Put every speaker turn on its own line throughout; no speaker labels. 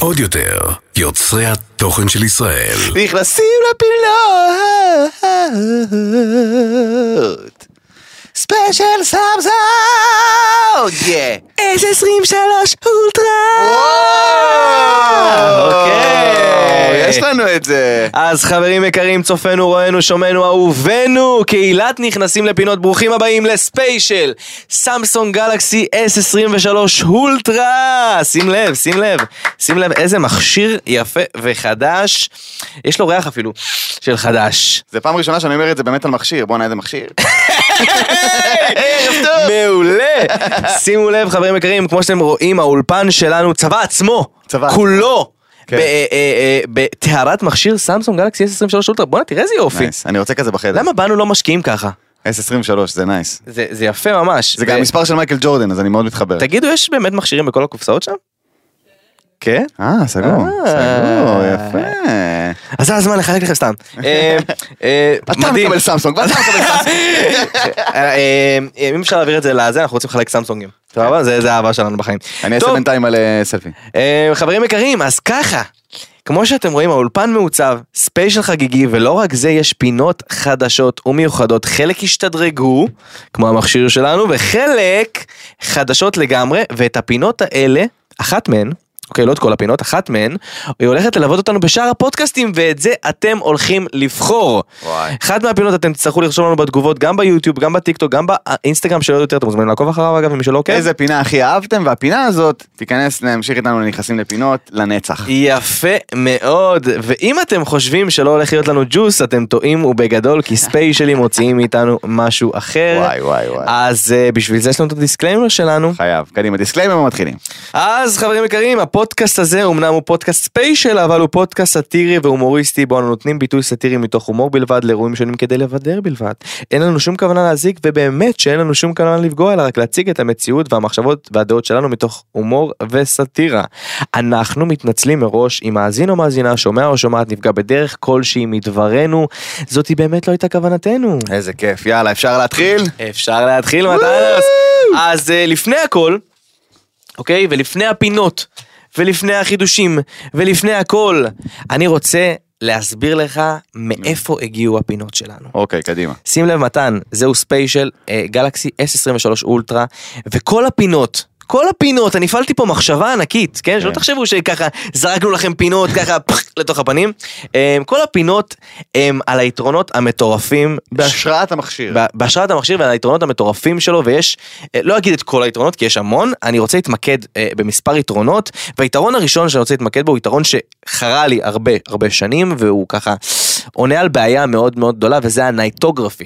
עוד יותר, יוצרי התוכן של ישראל.
נכנסים לפינות. ספיישל סאם סאונד! יא!
איזה 23 אולטרה!
אוקיי.
אוקיי.
יש לנו את זה.
אז חברים יקרים, צופינו, רואינו, שומענו, אהובנו, קהילת נכנסים לפינות, ברוכים הבאים לספיישל, סמסונג גלקסי S23 אולטרה, שים לב, שים לב, שים לב איזה מכשיר יפה וחדש, יש לו ריח אפילו של חדש.
זה פעם ראשונה שאני אומר את זה באמת על מכשיר. בואנה איזה מכשיר.
מעולה! שימו לב חברים יקרים, כמו שאתם רואים, האולפן שלנו, צבא עצמו,
צבא.
כולו,
כן.
ב- אה, אה, אה, בטהרת מכשיר סמסונג גלקסי S23 אולטרה, בואנה תראה איזה יופי.
נייס. אני רוצה כזה בחדר.
למה בנו לא משקיעים ככה?
S23 זה נייס.
זה, זה יפה ממש.
זה גם
ו-
מספר של מייקל ג'ורדן אז אני מאוד מתחבר.
תגידו, יש באמת מכשירים בכל הקופסאות שם?
כן? אה, סגור.
אה.
סגור, יפה.
אז זה הזמן לחלק לכם סתם. אה, אה,
אתה
מדהים.
מקבל סמסונג, ואתה מקבל סמסונג.
אה, אה, אה, אם אפשר להעביר את זה לזה, אנחנו רוצים לחלק סמסונגים. סבבה? זה זה האהבה שלנו בחיים.
אני אעשה
טוב,
בינתיים על אה, סלפי.
אה, חברים יקרים, אז ככה. כמו שאתם רואים, האולפן מעוצב, ספיישל חגיגי, ולא רק זה, יש פינות חדשות ומיוחדות. חלק השתדרגו, כמו המכשיר שלנו, וחלק חדשות לגמרי, ואת הפינות האלה, אחת מהן, אוקיי, לא את כל הפינות, אחת מהן, היא הולכת ללוות אותנו בשאר הפודקאסטים, ואת זה אתם הולכים לבחור.
וואי.
אחת מהפינות אתם תצטרכו לרשום לנו בתגובות, גם ביוטיוב, גם בטיקטוק, גם באינסטגרם שלא יותר, אתם מוזמנים לעקוב אחריו, אגב, אם שלא עוקב.
איזה פינה הכי אהבתם, והפינה הזאת תיכנס, נמשיך איתנו לנכנסים לפינות, לנצח.
יפה מאוד, ואם אתם חושבים שלא הולך להיות לנו ג'וס, אתם טועים ובגדול, כי ספיישלים מוציאים מאיתנו משהו אחר.
וואי וואי וואי.
אז uh, בשביל זה יש לנו את הדיסקליימר שלנו.
חייב. קדימה, דיסקליימר מתחילים.
אז חברים יקרים, הפודקאסט הזה אמנם הוא פודקאסט ספיישל, אבל הוא פודקאסט סאטירי והומוריסטי, בו אנו נותנים ביטוי סאטירי מתוך הומור בלבד לאירועים שונים כדי לבדר בלבד. אין לנו שום כוונה להזיק, ובאמת שאין לנו שום כוונה לפגוע, אלא רק להציג את המציאות והמחשבות והדעות שלנו מתוך הומור וסאטירה. אנחנו מתנצלים מראש אם מאזין או מאזינה, שומע או שומעת, נפגע בדרך כלשהי מדברנו, זאתי באמת לא הייתה כוונתנו.
איזה כיף, יאללה, אפשר להתחיל?
אפשר להתחיל מתנס. אז אה, לפני הכל, אוקיי, ולפני הפינות, ולפני החידושים, ולפני הכל, אני רוצה להסביר לך מאיפה הגיעו הפינות שלנו.
אוקיי, קדימה.
שים לב מתן, זהו ספיישל אה, גלקסי S23 אולטרה, וכל הפינות. כל הפינות, אני הפעלתי פה מחשבה ענקית, כן? שלא תחשבו שככה זרקנו לכם פינות ככה פח, לתוך הפנים. אה, כל הפינות הם על היתרונות המטורפים
בהשראת המכשיר.
ב- בהשראת המכשיר ועל היתרונות המטורפים שלו ויש, אה, לא אגיד את כל היתרונות כי יש המון, אני רוצה להתמקד אה, במספר יתרונות והיתרון הראשון שאני רוצה להתמקד בו הוא יתרון שחרה לי הרבה הרבה שנים והוא ככה עונה על בעיה מאוד מאוד גדולה וזה הנייטוגרפי.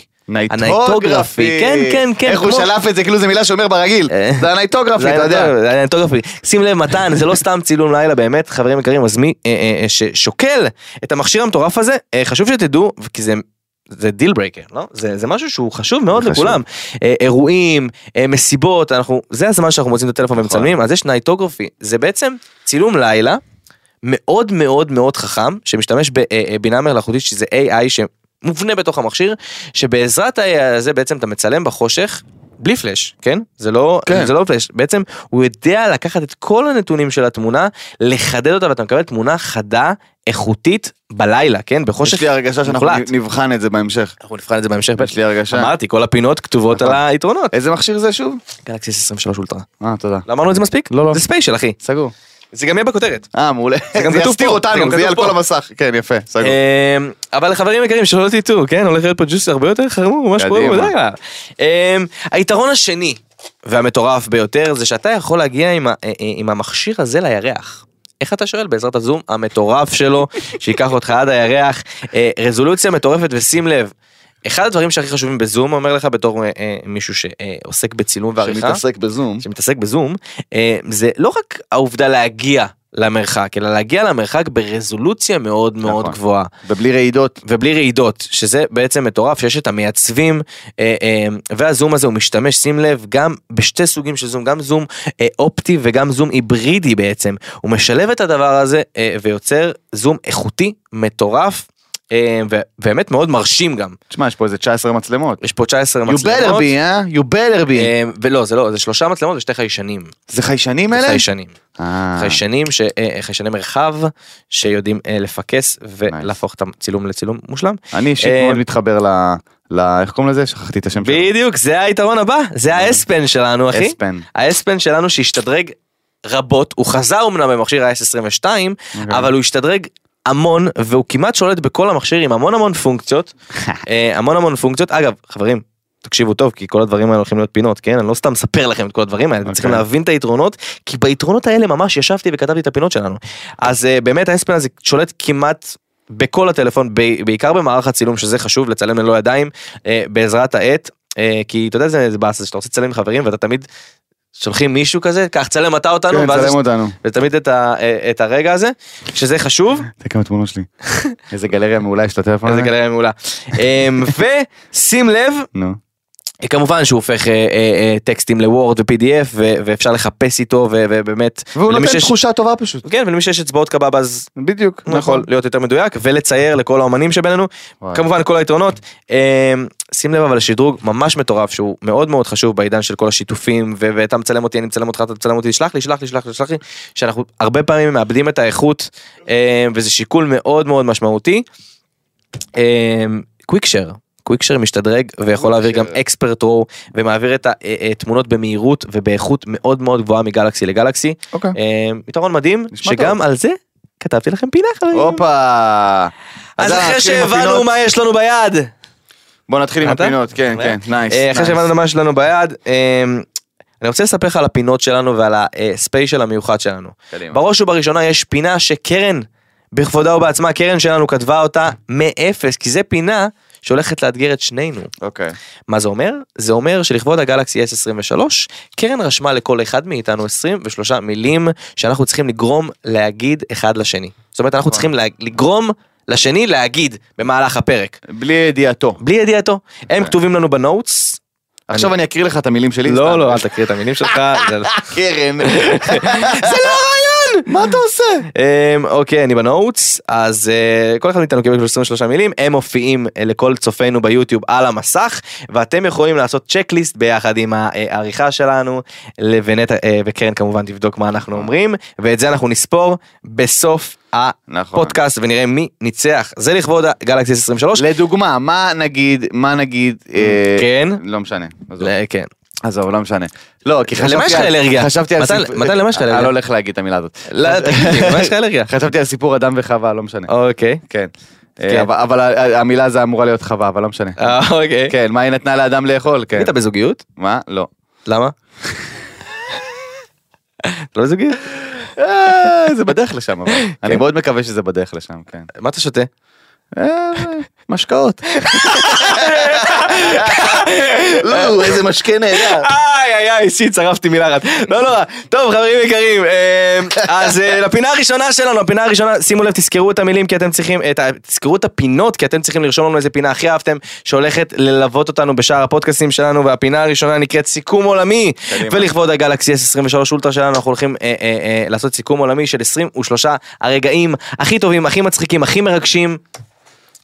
הנייטוגרפי, כן כן כן.
איך הוא
כמו-
שלף את זה, כאילו זה מילה שאומר ברגיל.
אה.
זה הנייטוגרפי,
זה
אתה יודע.
הנייטוגרפי, זה הנייטוגרפי. שים לב מתן, זה לא סתם צילום לילה באמת, חברים יקרים, אז מי אה, אה, אה, ששוקל את המכשיר המטורף הזה, אה, חשוב שתדעו, כי זה... זה דיל ברייקר, לא? זה, זה משהו שהוא חשוב מאוד
חשוב.
לכולם. אה, אירועים, אה, מסיבות, אנחנו, זה הזמן שאנחנו מוצאים את הטלפון
נכון.
ומצלמים, אז יש נייטוגרפי, זה בעצם צילום לילה מאוד מאוד מאוד חכם, שמשתמש בבינה מלאכותית שזה AI שמובנה בתוך המכשיר, שבעזרת ה-AI הזה בעצם אתה מצלם בחושך. בלי פלאש, כן? זה לא,
כן.
כן. זה לא פלאש. בעצם הוא יודע לקחת את כל הנתונים של התמונה, לחדד אותה ואתה מקבל תמונה חדה, איכותית, בלילה, כן? בחושך.
יש לי הרגשה שאנחנו
מוחלט.
נבחן את זה בהמשך.
אנחנו נבחן את זה בהמשך.
יש לי הרגשה.
אמרתי, כל הפינות כתובות
נכון.
על היתרונות.
איזה מכשיר זה שוב?
גלקסי 23 אולטרה.
אה, תודה.
לא אמרנו את זה מספיק?
לא, לא.
זה ספיישל, אחי.
סגור.
זה גם יהיה בכותרת.
אה, מעולה.
זה גם
זה יסתיר
כתוב פה, זה גם
אותנו, זה
כתוב
יהיה על
פה.
כל המסך. כן, יפה, סגור.
אמ, אבל חברים יקרים שלא תטעו, כן? הולך להיות פה ג'וס הרבה יותר חמור ממה שקורה
קדימה.
בלילה. אמ, היתרון השני והמטורף ביותר זה שאתה יכול להגיע עם ה- אה, אה, עם המכשיר הזה לירח. איך אתה שואל? בעזרת הזום המטורף שלו, שייקח אותך עד הירח. אה, רזולוציה מטורפת ושים לב. אחד הדברים שהכי חשובים בזום אומר לך בתור אה, אה, מישהו שעוסק בצילום ועריכה,
שמתעסק בזום.
שמתעסק בזום, אה, זה לא רק העובדה להגיע למרחק, אלא להגיע למרחק ברזולוציה מאוד מאוד
נכון.
גבוהה.
ובלי רעידות.
ובלי רעידות, שזה בעצם מטורף, שיש את המייצבים, אה, אה, והזום הזה הוא משתמש, שים לב, גם בשתי סוגים של זום, גם זום אה, אופטי וגם זום היברידי בעצם. הוא משלב את הדבר הזה אה, ויוצר זום איכותי, מטורף. אה, ובאמת מאוד מרשים גם.
תשמע, יש פה איזה 19 מצלמות.
יש פה 19
You better
מצלמות.
be, אה? You better be.
אה, ולא, זה לא, זה שלושה מצלמות ושתי חיישנים.
זה חיישנים
זה
אלה?
חיישנים.
אה,
חיישנים, ש- אה, חיישני מרחב, שיודעים אה, לפקס ולהפוך את הצילום לצילום מושלם.
אני אישית
אה,
מאוד מתחבר ל... ל- איך קוראים לזה? שכחתי את השם שלו.
בדיוק, זה היתרון הבא, זה האספן שלנו, אחי.
S-Pen.
האספן שלנו שהשתדרג רבות, הוא חזר אמנם במכשיר ה-S22,
אוקיי.
אבל הוא השתדרג המון, והוא כמעט שולט בכל המכשיר עם המון המון פונקציות. אה, המון המון פונקציות. אגב, חברים, תקשיבו טוב, כי כל הדברים האלה הולכים להיות פינות, כן? אני לא סתם מספר לכם את כל הדברים האלה, אתם
אוקיי.
צריכים להבין את היתרונות, כי ביתרונות האלה ממש ישבתי וכתבתי את הפינות שלנו. אז אה, באמת האספן הזה שולט כמעט... בכל הטלפון, ב- בעיקר במערך הצילום, שזה חשוב, לצלם ללא ידיים, אה, בעזרת העט, אה, כי אתה יודע זה, זה באסה, שאתה רוצה לצלם עם חברים ואתה תמיד שולחים מישהו כזה, קח תצלם אתה אותנו,
כן,
ואז
צלם
יש-
אותנו.
ותמיד את, ה, אה, את הרגע הזה, שזה חשוב,
תראה כמה תמונות שלי. איזה גלריה מעולה יש לטלפון הזה.
איזה גלריה מעולה. אמ, ושים לב,
נו.
אה, כמובן שהוא הופך אה, אה, אה, טקסטים לוורד ו-PDF ו- ואפשר לחפש איתו ו- ובאמת,
והוא
ולמי
נותן
שיש-
תחושה טובה פשוט.
כן, ולמי שיש אצבעות קבב אז
בדיוק.
הוא יכול להיות יותר מדויק ולצייר לכל האומנים שבינינו,
נכון. וואי.
כמובן כל היתרונות. אמ, שים לב אבל לשדרוג ממש מטורף שהוא מאוד מאוד חשוב בעידן של כל השיתופים ו- ואתה מצלם אותי אני מצלם אותך אתה מצלם אותי שלח לי שלח לי שלח לי שלח לי שאנחנו הרבה פעמים מאבדים את האיכות אמ, וזה שיקול מאוד מאוד משמעותי. אמ, קוויקשר. קוויקשר משתדרג ויכול להעביר גם אקספרט רו ומעביר את התמונות במהירות ובאיכות מאוד מאוד גבוהה מגלקסי לגלקסי.
אוקיי.
אמ, יתרון מדהים
נשמע
שגם
טוב.
על זה כתבתי לכם פינה חברים.
הופה.
אה, אז
אתה
אחרי
נתחיל עם
שהבנו
הפינות?
מה יש לנו ביד.
בוא נתחיל עם
אתה?
הפינות, כן,
מעולה.
כן, נייס.
אה, אחרי
נייס.
שהבנו מה שלנו ביד, אה, אני רוצה לספר לך על הפינות שלנו ועל הספיישל המיוחד שלנו.
קדימה.
בראש ובראשונה יש פינה שקרן, בכבודה ובעצמה, קרן שלנו כתבה אותה מאפס, כי זו פינה שהולכת לאתגר את שנינו.
אוקיי.
מה זה אומר? זה אומר שלכבוד הגלקסי S23, קרן רשמה לכל אחד מאיתנו 23 מילים שאנחנו צריכים לגרום להגיד אחד לשני. זאת אומרת,
נכון.
אנחנו צריכים לה- לגרום לשני להגיד במהלך הפרק,
בלי ידיעתו.
בלי ידיעתו. הם כתובים לנו בנוטס,
עכשיו אני אקריא לך את המילים כן. שלי.
לא,
סתם.
לא, אל תקריא את המילים שלך. זה לא-
קרן. זה לא רעיון! מה אתה עושה?
אמ, אוקיי, אני בנוטס, אז אה, כל אחד מאיתנו קיבל 23 מילים, הם מופיעים אה, לכל צופינו ביוטיוב על המסך, ואתם יכולים לעשות צ'קליסט ביחד עם העריכה שלנו, לבנט, אה, וקרן כמובן תבדוק מה אנחנו אומרים, ואת זה אנחנו נספור בסוף
נכון.
הפודקאסט ונראה מי ניצח. זה לכבוד הגלקסי 23.
לדוגמה, מה נגיד, מה נגיד... אה,
כן.
לא משנה. עזוב.
ל- כן.
עזוב, לא משנה. לא, כי
למה
חשבתי...
יש לך
על-
אלרגיה?
חשבתי על
מתי-
סיפור...
מתי למה יש לך אלרגיה?
אני לא הולך להגיד את המילה הזאת.
לא, תגיד לי, מה יש לך אלרגיה?
חשבתי על סיפור אדם וחווה, לא משנה.
אוקיי.
כן.
כן.
אה, אבל- אבל ה- ה- המילה הזו אמורה להיות חווה, אבל לא משנה.
אה, אוקיי.
כן, מה היא נתנה לאדם לאכול? כן.
היית בזוגיות?
מה? לא.
למה? אתה לא בזוגיות?
אה, זה בדרך לשם, אבל.
כן.
אני מאוד מקווה שזה בדרך לשם, כן.
מה אתה שותה?
אה, משקאות. לא, איזה משקה נהדר.
איי איי איי, שי, צרפתי מילה אחת. לא נורא. טוב, חברים יקרים, אה, אז אה, לפינה הראשונה שלנו, הפינה הראשונה, שימו לב, תזכרו את המילים כי אתם צריכים, את ה- תזכרו את הפינות כי אתם צריכים לרשום לנו איזה פינה הכי אהבתם, שהולכת ללוות אותנו בשאר הפודקאסטים שלנו, והפינה הראשונה נקראת סיכום עולמי.
קדימה.
ולכבוד הגלקסי S23 אולטרה שלנו, אנחנו הולכים אה, אה, אה, לעשות סיכום עולמי של 23 הרגעים הכי טובים, הכי מצחיקים, הכי מרגשים.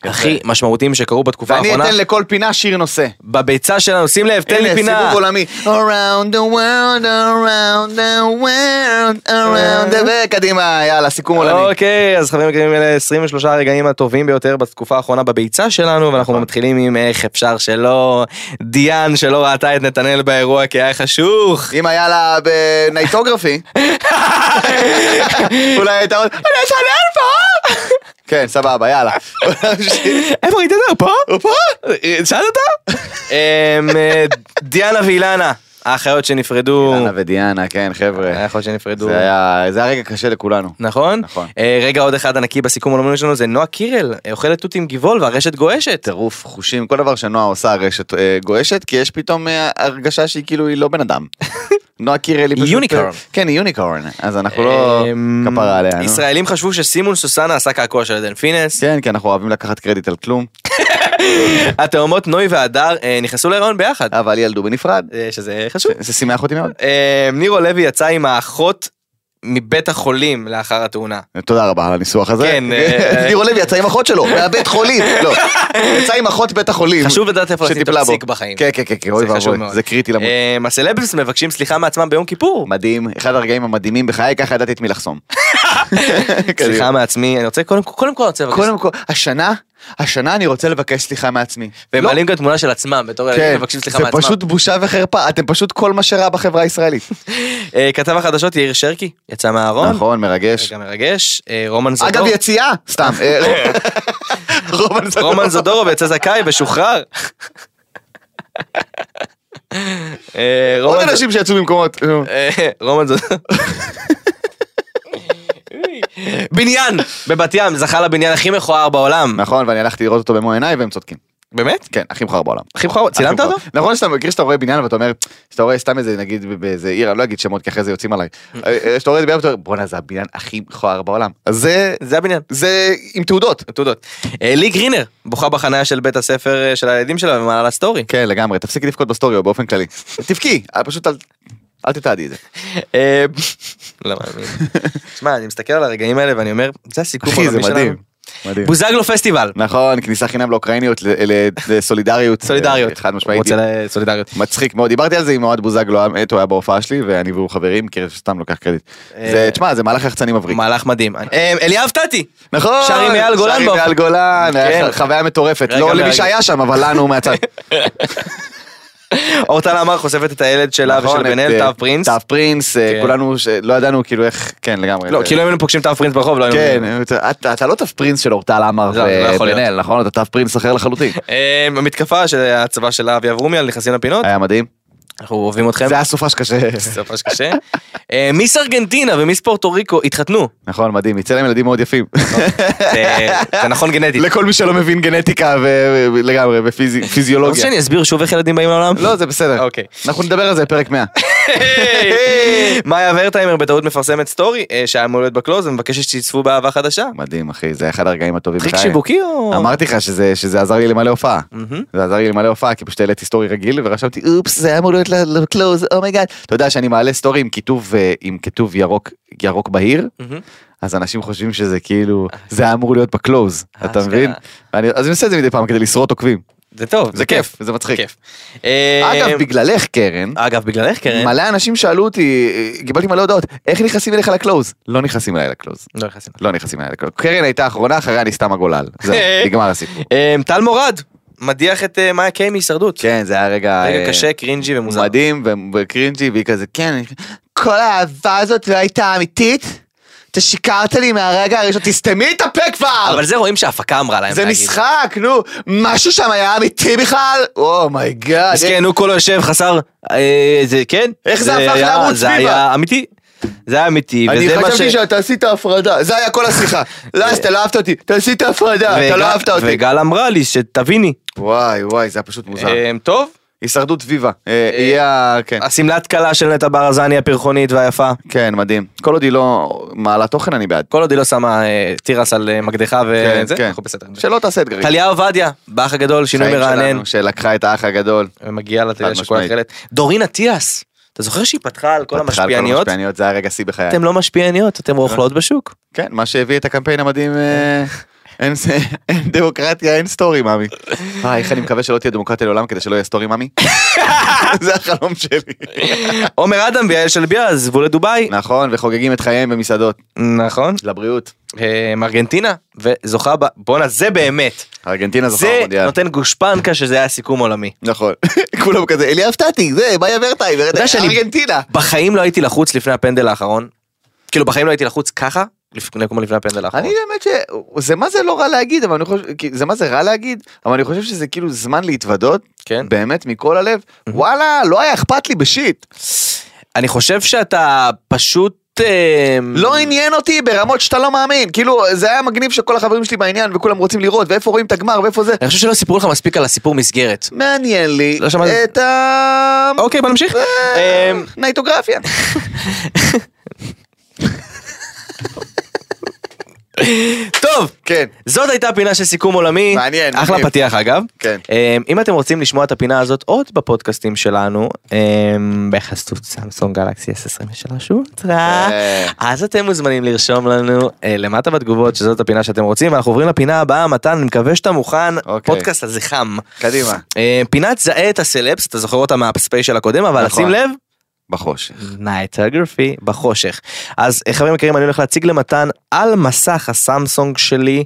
הכי משמעותיים שקרו בתקופה
ואני
האחרונה,
אתן לכל פינה שיר נושא.
בביצה שלנו, שים לב, תן לי
הנה,
פינה.
סיבוב עולמי. around the world, around the world, around the world. קדימה, יאללה, סיכום עולמי.
אוקיי, אז חברים יקרים, אלה 23 הרגעים הטובים ביותר בתקופה האחרונה בביצה שלנו,
נכון.
ואנחנו מתחילים עם איך אפשר שלא, דיאן שלא ראתה את נתנאל באירוע כי היה חשוך.
אם היה לה בנייטוגרפי, אולי הייתה עוד... אני אשנה פה! כן, סבבה, יאללה.
איפה ראית את זה? הוא פה? הוא פה? שאלת אותו? אמ, אה, דיאנה ואילנה, האחיות שנפרדו.
אילנה ודיאנה, כן, חבר'ה.
האחיות שנפרדו.
זה היה זה היה רגע קשה לכולנו.
נכון?
נכון.
אה, רגע עוד אחד ענקי בסיכום הלאומי שלנו זה נועה קירל, אה, אוכלת תות עם גבעול והרשת גועשת.
טירוף, חושים, כל דבר שנועה עושה הרשת אה, גועשת, כי יש פתאום אה, הרגשה שהיא כאילו היא לא בן אדם. נועה קירל היא
היא
פשוט...
יוניקורן.
כן, היא יוניקורן, אז אנחנו לא
אמ,
כפרה עליה. נו.
ישראלים חשבו שסימון סוסנה עשה קעקוע של עדן פינס.
כן, כי אנחנו אוהבים לקחת קרדיט על כלום,
התאומות נוי והדר אה, נכנסו להיריון ביחד,
אבל ילדו בנפרד.
אה, שזה חשוב.
זה שימח אותי מאוד.
אה, נירו לוי יצא עם האחות מבית החולים לאחר התאונה.
תודה רבה על הניסוח הזה.
כן, אה,
ניר לוי יצא עם אחות שלו, מהבית חולים. לא, יצא עם אחות בית החולים.
חשוב לדעת איפה לשים את
שטיפלה בו.
הפסיק בחיים.
כן, כן, כן, כן, אוי
זה חשוב
ואבוי,
מאוד.
זה קריטי למות.
אמ, הסלבס מבקשים סליחה מעצמם ביום כיפור.
מדהים, אחד הרגעים המדהימים בחיי, ככה ידעתי את מי לחסום.
סליחה מעצמי, אני רוצה קודם כל, קודם כל אני רוצה לבקש.
קודם כל, השנה, השנה אני רוצה לבקש סליחה מעצמי.
והם
לא, כן,
מעלים גם תמונה של עצמם, בתור ילדים מבקשים סליחה
זה
מעצמם.
פשוט בושה וחרפה, אתם פשוט כל מה שרע בחברה הישראלית.
אה, כתב החדשות יאיר שרקי, יצא מהארון.
נכון, מרגש.
גם מרגש. אה, רומן זדור.
אגב, יציאה, סתם. אה, רומן זדור.
רומן זדורוב יצא זכאי ושוחרר. אה,
עוד
רומן ז-
אנשים שיצאו ממקומות. נו.
אה, רומן זדורוב. בניין בבת ים זכה לבניין הכי מכוער בעולם.
נכון, ואני הלכתי לראות אותו במו עיניי והם צודקים.
באמת?
כן, הכי מכוער בעולם.
הכי מכוער. צילמת
הכי מכוער.
אותו?
נכון שאתה מכיר שאתה רואה בניין ואתה אומר, שאתה רואה סתם איזה נגיד באיזה עיר, אני לא אגיד שמות כי אחרי זה יוצאים עליי, אה, שאתה רואה את בניין ואתה אומר, בואנה זה הבניין הכי מכוער בעולם. אז זה,
זה הבניין.
זה עם תעודות.
תעודות. אה, לי גרינר בוכה בחניה של בית הספר אה, של הילדים שלה ומעלה לה סטורי.
כן לגמרי, תפסיקי לבכות בסטורי או באופן כללי. תבכי, אה, פשוט אל- אל תתעדי את זה.
אה, לא מאמין. שמע, אני מסתכל על הרגעים האלה ואני אומר, זה הסיכום
אחי זה
העולמי שלנו.
מדהים. מדהים.
בוזגלו פסטיבל.
נכון, כניסה חינם לאוקראיניות, ל- ל- לסולידריות. אה,
סולידריות.
חד משמעית.
הוא רוצה ל- סולידריות.
מצחיק מאוד, דיברתי על זה עם אוהד בוזגלו, האמת, הוא היה בהופעה שלי, ואני והוא חברים, כאילו סתם לוקח קרדיט.
אה,
זה, תשמע, זה מהלך יחצני מבריק.
מהלך מדהים. אה, אליאב טאטי.
נכון,
שר עם אייל גולן
שר עם
בהופעה.
אייל גולן, היה
כן.
ח- חוויה מטורפת,
רגע,
לא
רגע.
למי שהיה שם, אבל לנו מהצד.
אורטל אמר חושפת את הילד שלה
נכון,
ושל
את,
בן אל,
אה,
תו פרינס.
תו פרינס, אה,
כן.
כולנו ש- לא ידענו כאילו איך, כן לגמרי.
לא,
זה-
כאילו אם היינו פוגשים תו פרינס ברחוב לא היינו...
כן,
מבינים.
אתה- אתה אתה לא תו פרינס של אורטל עמר
לא, זה לא יכול
ובן אל, נכון? אתה תו פרינס אחר לחלוטין.
אה, המתקפה של הצבא של אבי אברומי על נכנסים לפינות.
היה מדהים.
אנחנו אוהבים אתכם.
אה. זה היה סופה שקשה.
זה ממש קשה. אה, מיס ארגנטינה ומיס פורטו ריקו התחתנו.
נכון, מדהים, יצא להם ילדים מאוד יפים.
אוקיי. זה זה נכון גנטית.
לכל מי שלא מבין גנטיקה ו- ולגמרי,
אתה רוצה
ופיזיולוגיה.
שאני לא אסביר שוב איך ילדים באים לעולם?
לא, זה בסדר.
אוקיי.
אנחנו נדבר על זה בפרק 100.
היי! מאיה ורטהיימר בטעות מפרסמת סטורי אה, שהיה אמור להיות בקלוז ומבקשת שיצפו באהבה חדשה.
מדהים, אחי, זה אחד הרגעים הטובים.
טריק
בחיי.
שיווקי או...
אמרתי לך שזה, שזה עזר לי למלא הופעה.
מהמם.
זה עזר לי למלא הופעה, כי פשוט העליתי סטורי רגיל ורשמתי, אופס, זה היה אמור להיות ל- לקלוז, אומייגאד. אתה יודע שאני מעלה סטורי עם כיתוב, אה, עם כיתוב ירוק, ירוק בהיר,
מהמם.
אז אנשים חושבים שזה כאילו, זה היה אמור להיות בקלוז, אתה
אשכרה.
מבין? ואני- אז אני עושה את זה מדי פעם כדי לשרוט עוקבים.
זה טוב,
זה כיף, זה מצחיק.
כיף. אה,
אגב, בגללך, קרן,
אגב, בגללך קרן.
מלא אנשים שאלו אותי, אה, קיבלתי מלא הודעות, איך נכנסים אליך לקלוז? לא נכנסים אליי לקלוז.
לא נכנסים.
לא נכנסים אליי לקלוז. קרן הייתה האחרונה, אחריה אני סתם הגולל. זהו, נגמר הסיפור.
אה, טל מורד מדיח את אה, מאיה קיי מהישרדות.
כן, זה היה רגע...
רגע
אה,
קשה, קרינג'י ומוזר.
מדהים ו- וקרינג'י והיא כזה כן אני- כל האהבה הזאת לא הייתה אמיתית. אתה שיקרת לי מהרגע הראשון תסתמי את הפה כבר
אבל זה רואים שההפקה אמרה להם
זה
אה, להגיד.
משחק נו משהו שם היה אמיתי בכלל Oh אומייגאד.
מסכן, הוא כולו יושב חסר, אה, זה כן.
איך זה הפך
היה-
לערוץ
זה
ביבה?
היה אמיתי. זה היה אמיתי,
אני
כן, וזה מה ש...
חשבתי שאתה עשית הפרדה זה היה כל השיחה לא אז אתה לא אהבת אותי אתה עשית הפרדה אתה
וגל-
לא אהבת אותי.
וגל אמרה לי שתביני.
וואי וואי זה היה פשוט מוזר.
אה, טוב,
הישרדות ויבה. אה, יהיה ה- כן.
השמלת כלה של נטע ברזני הפרחונית והיפה.
כן מדהים כל עוד היא לא מעלה תוכן אני בעד.
כל עוד היא לא שמה אה, תירס על אה, מקדחה
כן,
וזה,
כן.
אנחנו בסדר.
שלא תעשה אתגרים.
טליה עובדיה, באח הגדול, שינוי
חיים
מרענן,
שלנו, שלקחה את האח הגדול.
ומגיעה לטליה
חד
של כל
משמעית.
התכלת. דורין אטיאס, אתה זוכר שהיא פתחה על כל
פתחה על
המשפיעניות?
המשפיעניות זה היה רגע שיא בחיי.
אתם לא משפיעניות, אתם רוכלות בשוק.
כן, מה שהביא את הקמפיין המדהים, אה, אין זה- אין דמוקרטיה, אין סטורי, מאמי. אה, איך אני מקווה שלא תהיה דמוקרטיה לעולם כדי שלא יהיה סטורי, מאמי. זה החלום שלי.
עומר אדם ויעל שלביה עזבו לדובאי.
נכון, וחוגגים את חייהם במסעדות.
נכון.
לבריאות.
אה, מארגנטינה, וזוכה ב... בואנה, זה באמת.
ארגנטינה זוכה
זה
במונדיאל.
נותן גושפנקה שזה היה סיכום עולמי.
נכון. כולם כזה, אליאב טאטי, זה, מאיה ורטייבר,
יודע שאני-
ארגנטינה.
בחיים לא הייתי לחוץ לפני הפנדל האחרון. כאילו בחיים לא הייתי לחוץ ככה, לפני כמו לפני הפנדל האחרון.
אני באמת ש... זה מה זה לא רע להגיד, אבל אני חושב... כי- זה מה זה רע להגיד, אבל אני חושב שזה כאילו זמן להתוודות,
כן.
באמת מכל הלב, וואלה, לא היה אכפת לי בשיט.
אני חושב שאתה פשוט... אה,
לא עניין אותי ברמות שאתה לא מאמין. כאילו, זה היה מגניב שכל החברים שלי בעניין וכולם רוצים לראות, ואיפה רואים את הגמר ואיפה זה.
אני חושב שלא סיפרו לך מספיק על הסיפור מסגרת.
מעניין לי
לא שמעתי.
את ה...
אוקיי, בוא נמשיך.
אה,
אמ,
נייטוגרפיה.
טוב, אה, טוב,
כן,
זאת הייתה פינה של סיכום עולמי.
מעניין,
אחלה
מגניב.
פתיח אגב.
כן.
אמ, אם אתם רוצים לשמוע את הפינה הזאת עוד בפודקאסטים שלנו, אמ, בחסות סמסונג גלקסי S23 אולטרה,
אה.
אז אתם מוזמנים לרשום לנו אה, למטה בתגובות שזאת הפינה שאתם רוצים, ואנחנו עוברים לפינה הבאה, מתן, אני מקווה שאתה מוכן,
אוקיי.
פודקאסט הזה חם.
קדימה.
אה, פינת זהה את הסלבס, אתה זוכר אותה מהספיישל הקודם, אבל
נכון.
שים לב,
בחושך.
נייטרגרפי בחושך. אז אה, חברים יקרים אני הולך להציג למתן על מסך הסמסונג שלי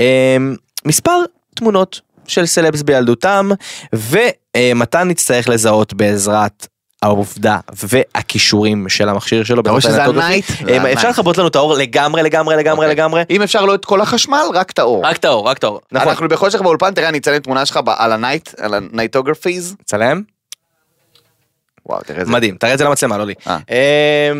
אה, מספר תמונות של סלבס בילדותם ומתן יצטרך לזהות בעזרת העובדה והכישורים של המכשיר שלו.
אתה רואה
בעזרת
שזה
הנייטרוגרפי.
הנייט?
אה,
זה
אפשר
הנייט.
לכבות לנו את האור לגמרי לגמרי לגמרי
אוקיי.
לגמרי.
אם אפשר לא את כל החשמל, רק את האור.
רק את האור רק את האור. נכון.
אנחנו בחושך באולפן, תראה, אני אציין תמונה שלך ב- על הנייט, על הנייטוגרפיז.
צלם?
וואו, תראה איזה...
מדהים תראה את זה למצלמה לא לי.
אה.
אה,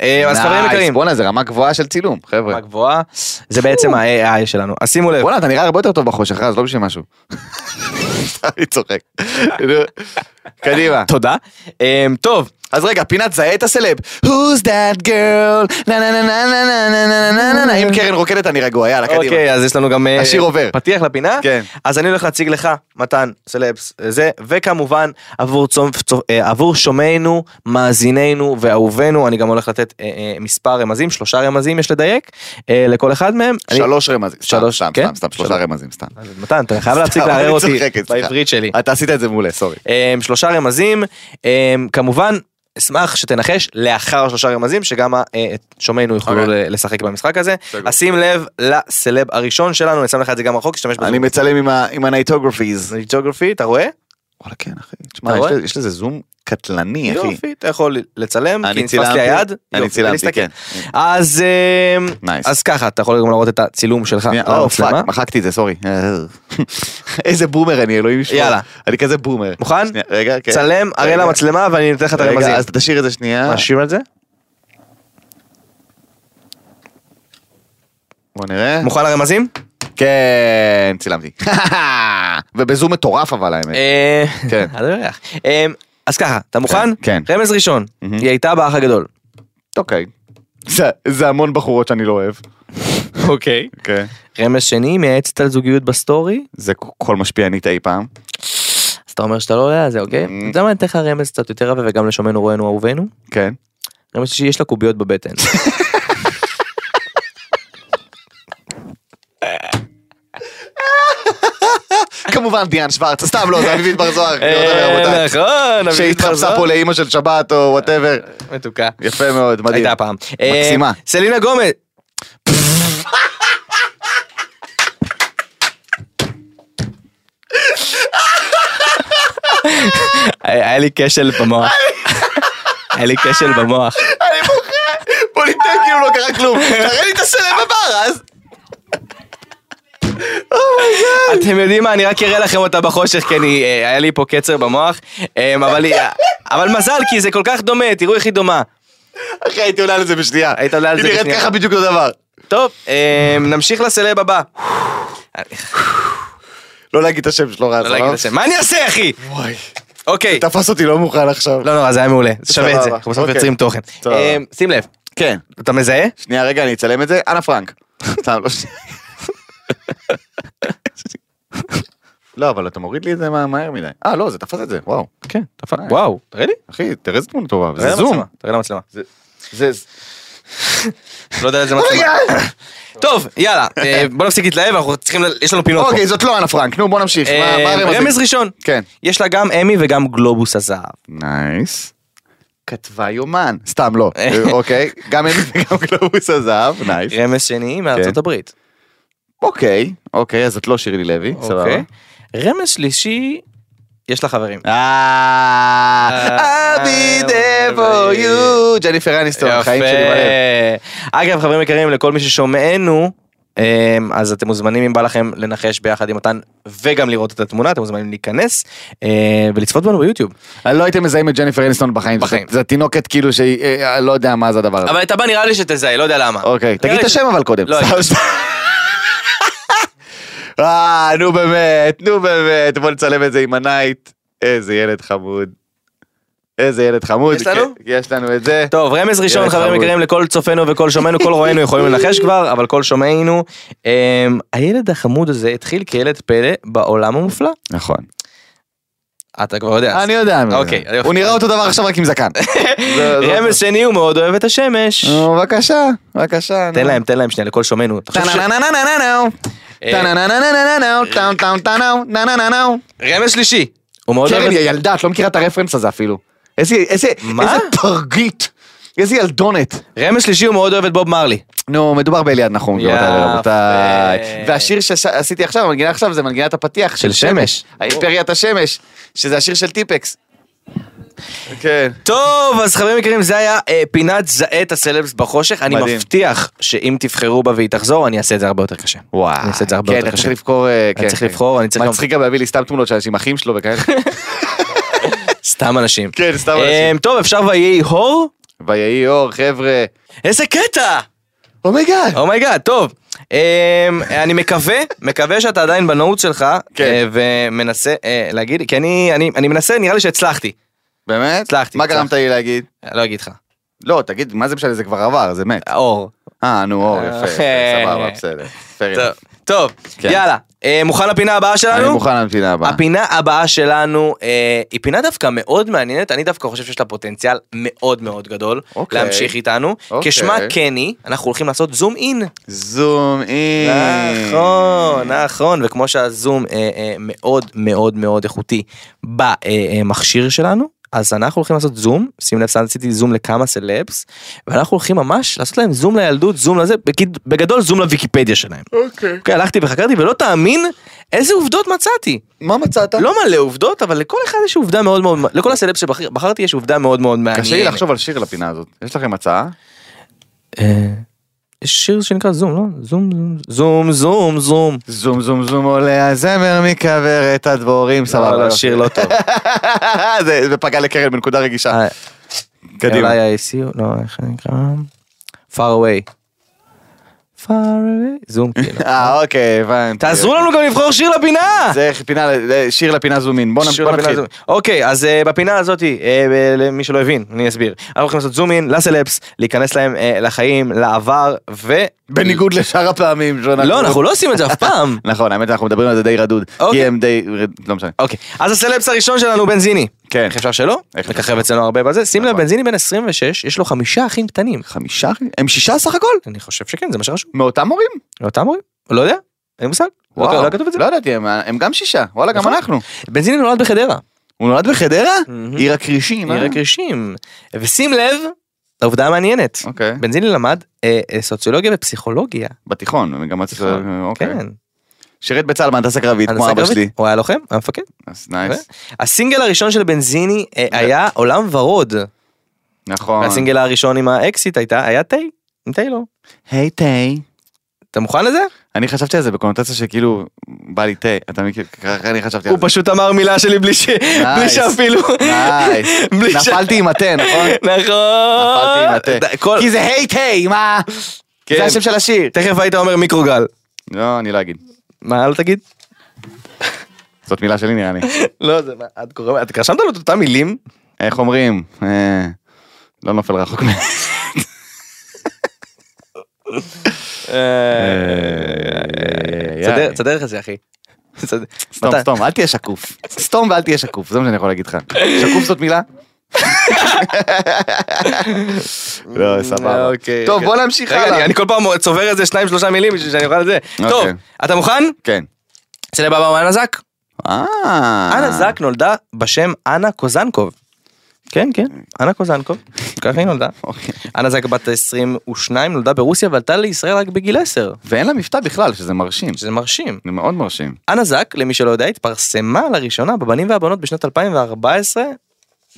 אה, אז חברים
נייס,
יקרים.
בואנה, זה רמה גבוהה של צילום, חבר'ה.
מה גבוהה? זה בעצם ה-AI שלנו אז שימו לב.
וואלה, אתה נראה הרבה יותר טוב בחושך, רז, לא בשביל משהו. אני צוחק. נו, קדימה.
תודה. אמ, טוב,
אז רגע, פינת זהה את הסלב. Who's that girl? נה נה נה נה נה נה נה נה נה נה נה לא, אם קרן רוקדת אני רגוע, יאללה, קדימה.
אוקיי, אז יש לנו גם אה,
השיר עובר.
פתיח לפינה.
כן.
אז אני הולך להציג לך, מתן, סלבס, אה, זה, וכמובן, עבור צום- צו- אה, עבור שומעינו, מאזינינו ואהובינו, אני גם הולך לתת אה, אה, מספר רמזים, שלושה רמזים יש לדייק, אה, לכל אחד מהם. אני-
שלוש רמזים. סתם,
שלוש,
סתם,
כן?
סתם, סתם, שלושה
שלוש. אוקיי.
רמזים, סתם.
מתן, אתה חייב להפסיק
סתם,
לערער
אני
אותי
צוחק, סליחה.
בעברית שלי.
אתה עשית את זה מעולה, סורי.
אמ, שלושה רמזים, אמ, כמובן, אשמח שתנחש לאחר שלושה רמזים, שגם ה- אה, שומעינו יוכלו
אוקיי.
ל- לשחק במשחק הזה.
סגור.
אז שים לב לסלב הראשון שלנו, אני שם לך את זה גם רחוק, תשתמש בזה.
אני מצלם עם ה- עם הנייטוגרפיז.
זה ג'וגרפי, אתה רואה?
וואלה, כן, אחי. תשמע,
אתה
יש
רואה?
לזה- יש לזה זום קטלני, אחי.
יופי, אתה יכול לצלם, כי
אני
נתפס לי היד.
צילמתי, אני
יופי,
צילמתי,
ולהסתכל.
כן.
אז אמ,
נייס.
אז ככה, אתה יכול גם להראות את הצילום שלך.
שנייה,
על
או
המצלמה.
פאק, אה, מחקתי את זה, סורי. אה. איזה בומר אני, אלוהים ישמור.
יאללה.
אני כזה בומר.
מוכן?
שנייה, רגע, כן.
צלם,
רגע.
הראה למצלמה ואני נותן לך את הרמזים.
רגע, אז אה. תשאיר את זה שנייה.
משאיר את זה?
בוא נראה.
מוכן לרמזים?
כן, צילמתי. ובזום מטורף אבל האמת.
אה,
כן.
אני לא יודע. אמ, אז ככה, אתה מוכן?
כן.
רמז ראשון,
מהמם.
היא הייתה באח הגדול.
אוקיי. זה- זה המון בחורות שאני לא אוהב.
אוקיי.
אוקיי.
רמז שני, היא מייעצת על זוגיות בסטורי.
זה כל משפיענית אי פעם.
אז אתה אומר שאתה לא עולה על זה, אוקיי?
Mm.
אתה יודע מה, אני אתן לך רמז קצת יותר רבה וגם לשומנו רואינו אהובינו.
כן.
רמז שלישי, יש לה קוביות בבטן.
כמובן דיאן שוורץ, סתם לא, זה אביבית בר זוהר. לא יודע,
אה,
רבותיי.
נכון,
שהתחפשה פה לאימא של שבת או וואטאבר.
מתוקה.
יפה מאוד, מדהים.
הייתה פעם.
מקסימה.
אה, סלינה גומז. היה לי כשל במוח. היה לי כשל במוח.
אני בוכה! בוא ניתן כאילו לא קרה כלום. תראה לי את הסלב הבא, אז...
אתם יודעים מה, אני רק אראה לכם אותה בחושך, כי אני, אה, היה לי פה קצר במוח. אה, אבל היא- אבל מזל, כי זה כל כך דומה, תראו איך היא דומה.
אחי, הייתי עולה על זה בשנייה.
היית עולה על זה
היא נראית
בשנייה.
ככה בדיוק אותו דבר.
טוב, אה, נמשיך לסלב הבא.
לא להגיד את השם שלו, רז.
לא להגיד את השם. מה אני אעשה, אחי?
וואי.
אוקיי.
תפס אותי לא מוכן עכשיו.
לא נורא, זה היה מעולה, זה שווה את זה,
סבבה,
אנחנו בסוף
אוקיי.
יוצרים תוכן.
סבבה.
אמ, שים לב,
כן.
אתה מזהה?
שנייה, רגע, אני אצלם את זה. אנה פרנק. סתם, לא שנייה. לא, אבל אתה מוריד לי את זה מה- מהר מדי. אה, לא, זה תפס את זה, וואו.
כן,
אה.
וואו, תראה לי.
אחי, תראה איזה תמונה טובה,
תראה
זה זום.
למצלמה, תראה למצלמה.
זה...
לא יודע איזה
אה!
מצלמה. טוב, יאללה, אה, בוא נפסיק להתלהב, אנחנו צריכים, ל- יש לנו פינות פה.
אוקיי, זאת לא אנה פרנק, נו בוא נמשיך. מה-
אה,
מה הרמזים?
רמז ראשון.
כן.
יש לה גם אמי וגם גלובוס הזהב.
נייס. כתבה יומן. סתם לא. אוקיי. גם אין וגם גלובוס הזהב, נייס.
רמז שני מארצות
כן.
הברית.
אוקיי, אוקיי, אז את לא שירלי לוי, סבבה.
אוקיי. רמז שלישי, יש לה חברים.
אה, I'll be there for you, ג'ניפר אניסטון, החיים שלי בלב.
אגב, חברים יקרים, לכל מי ששומענו, אמ, אז אתם מוזמנים אם בא לכם לנחש ביחד עם מתן וגם לראות את התמונה, אתם מוזמנים להיכנס אה, ולצפות בנו ביוטיוב.
לא הייתם מזהים את ג'ניפר אניסטון בחיים,
בחיים.
זו תינוקת כאילו שהיא, אה, אה, לא יודע מה זה הדבר הזה.
אבל אתה בא נראה לי שתזהה, לא יודע למה.
אוקיי, תגיד
נראה
את
לי
השם אבל קודם.
לא,
סתם,
אני-
סתם. אה, נו באמת, נו באמת, בוא נצלם את זה עם הנייט. איזה ילד חמוד. איזה ילד חמוד.
יש לנו?
כן, יש לנו את זה.
טוב, רמז ראשון,
ילד
חברים
חמוד.
יקרים, לכל צופינו וכל שומענו, כל רואינו יכולים לנחש כבר, אבל כל שומעינו. אמ, הילד החמוד הזה התחיל כילד פלא בעולם המופלא.
נכון.
אתה כבר יודע.
אני יודע. מי זה.
אוקיי, יופי.
הוא נראה אותו דבר עכשיו רק עם זקן. זה- זה-
רמז שני, הוא מאוד אוהב את השמש.
נו, בבקשה, בבקשה.
תן
נו.
להם, תן להם שנייה, לכל שומעינו. תחשוב ש-
טה-נה-נה-נה-נה-נו. טה-נה-נה-נה-נה-נו, טאו, טאו, טאו, נה-נה-נה-נו.
רמז שלישי. הוא מאוד אוהב
קרן
את...
היא ילדה, את לא מכירה את הרפרנס הזה אפילו. איזה איזה-
מה?
איזה תרגית. איזה ילדונת.
רמז שלישי, הוא מאוד אוהב את בוב מרלי.
נו, מדובר באליעד נחום,
יפה.
גבירותיי ורבותיי. והשיר שעשיתי עכשיו, המנגינה עכשיו, זה מנגינת הפתיח
של שמש.
האימפריית השמש, שזה השיר של טיפקס. כן.
טוב, אז חברים יקרים, זה היה אה, פינת זהה את הסלבס בחושך. אני
מדהים.
מבטיח שאם תבחרו בה והיא תחזור, אני אעשה את זה הרבה יותר קשה.
וואי.
אני אעשה את זה הרבה
כן,
יותר
אתה צריך
קשה.
לבחור, אה, כן,
צריך
כן.
לבחור, אני צריך גם-
מצחיק גם להביא לי סתם תמונות של אנשים אחים שלו וכאלה.
סתם אנשים.
כן, סתם
אה,
אנשים.
טוב, אפשר ויהי הור?
ויהי אור, חבר'ה.
איזה קטע!
אומייגאד.
אומייגאד, Oh טוב. אמ, אני מקווה, מקווה שאתה עדיין בנוט שלך,
כן.
אה, ומנסה אה, להגיד, כי אני, אני, אני מנסה, נראה לי שהצלחתי.
באמת?
הצלחתי,
מה
הצלחתי.
גרמת לי להגיד?
לא אגיד לך.
לא, תגיד, מה זה משנה, זה כבר עבר, זה מת.
אור.
אה, נו, אור,
אה,
יפה, יפה,
אה.
סבבה, בסדר. Fair
טוב,
enough.
טוב,
כן.
יאללה. אה, מוכן לפינה הבאה שלנו?
אני מוכן למפינה הבאה.
הפינה הבאה שלנו אה, היא פינה דווקא מאוד מעניינת, אני דווקא חושב שיש לה פוטנציאל מאוד מאוד גדול
אוקיי.
להמשיך איתנו.
אוקיי.
כשמה קני, אנחנו הולכים לעשות זום אין.
זום אין.
נכון, נכון, וכמו שהזום אה, אה, מאוד מאוד מאוד איכותי במכשיר שלנו, אז אנחנו הולכים לעשות זום, שים לב, סתם עשיתי זום לכמה סלבס, ואנחנו הולכים ממש לעשות להם זום לילדות, זום לזה, בקיד- בגדול זום לוויקיפדיה שלהם.
אוקיי.
אוקיי, הלכתי וחקרתי ולא תאמין איזה עובדות מצאתי.
מה מצאת?
לא מלא עובדות, אבל לכל אחד יש עובדה מאוד מאוד, לכל הסלב שבחרתי יש עובדה מאוד מאוד מעניינת.
קשה לי לחשוב על שיר לפינה הזאת. יש לכם הצעה?
אה, יש שיר שנקרא זום, לא? זום, זום, זום, זום.
זום זום זום עולה הזמר מכוורת הדבורים, סבבה.
לא, לא,
יופי.
שיר לא טוב.
זה זה פגע לקרן בנקודה רגישה.
אה,
קדימה.
אולי ה-ICU, לא, איך זה נקרא? far away. far away. זום, כאילו.
אה, אוקיי, הבנתי.
תעזרו לנו גם לבחור שיר לפינה!
זה פינה, זה שיר לפינה זומין. בוא נ-
שיר
בוא
לפינה
נתחיל.
הזו. אוקיי, אז אה, בפינה הזאת, אה, ב- למי שלא הבין, אני אסביר. אנחנו הולכים לעשות זום אין לסלפס, להיכנס להם אה, לחיים, לעבר, ו...
בניגוד לשאר הפעמים. שאנחנו-
לא, אנחנו לא עושים את זה אף פעם.
נכון, האמת אנחנו מדברים על זה די רדוד.
אוקיי.
כי הם די... לא משנה.
אוקיי, אז הסלבס הראשון שלנו הוא בנזיני.
כן.
איך אפשר שלא?
איך
מככב אצלנו הרבה בזה. שים לב,
נכון.
בנזיני בן 26, יש לו חמישה אחים קטנים.
חמישה? אחי? הם שישה סך הכל?
אני חושב שכן, זה מה שרשום.
מאותם הורים?
לאותם הורים? לא יודע, אין לי מושג. לא
וואו.
לא כתוב את זה.
לא ידעתי, הם- הם גם שישה. וואלה, גם
נכון.
אנחנו.
בנזיני נולד בחדרה.
הוא נולד בחדרה?
מהמם.
עיר הכרישים. אה?
Mhm. עיר הקרישים. ושים לב, העובדה המעניינת.
אוקיי.
בנזיני למד אה, אה, סוציולוגיה ופסיכולוגיה.
בתיכון, אני גם מצליח,
תיכון,
אוקיי.
כן.
שירת בצה"ל בהנדסה קרבית, כמו
הנדסה
אבא
קרבית. אוקיי.
שלי.
הוא היה לוחם, היה מפקד.
אז נייס.
הסינגל הראשון של בנזיני אה,
כן.
היה עולם ורוד.
אה. נכון.
והסינגל הראשון עם האקסיט הייתה, היה תה. עם טיילור.
היי תה.
אתה מוכן לזה?
אני חשבתי על זה בקונוטציה שכאילו בא לי תה, אתה מכיר, ככה אני חשבתי על
הוא
זה.
פשוט אמר מילה שלי בלי ש... בלי שאפילו...
נייס.
בלי ש-
נפלתי עם התה, נכון? נפלתי עם
נכון.
התה.
כל-
כי זה היי תה, מה?
כן.
זה השם של השיר.
תכף היית אומר מיקרוגל.
לא, אני לא אגיד.
מה, לא תגיד?
זאת מילה שלי נראה לי.
לא, זה מה, את קורא... את רשמת לו את אותם מילים?
איך אומרים? אה, לא נופל רחוק מה... אה,
תסדר- תסדר לך אה, את זה, אחי. תסדר-
סתום,
מתי-
סתום, אל תהיה שקוף. סתום ואל תהיה שקוף, זה מה שאני יכול להגיד לך. שקוף זאת מילה? לא, סבבה.
אוקיי.
טוב, בוא נמשיך
רגע, אני-
הלאה.
אני כל פעם צובר איזה שניים שלושה מילים בשביל שאני אוכל את זה.
אוקיי.
טוב, אתה מוכן?
כן.
אצל הבבא הוא אנה זק.
אה.
אנה זק נולדה בשם אנה קוזנקוב. כן, כן, אנה קוזנקוב. ככה היא נולדה.
אוקיי.
אנה זק בת 22, נולדה ברוסיה ועלתה לישראל רק בגיל 10,
ואין לה מבטא בכלל, שזה מרשים.
שזה מרשים.
זה מאוד מרשים.
אנה זק, למי שלא יודע, התפרסמה לראשונה בבנים והבנות בשנת 2014,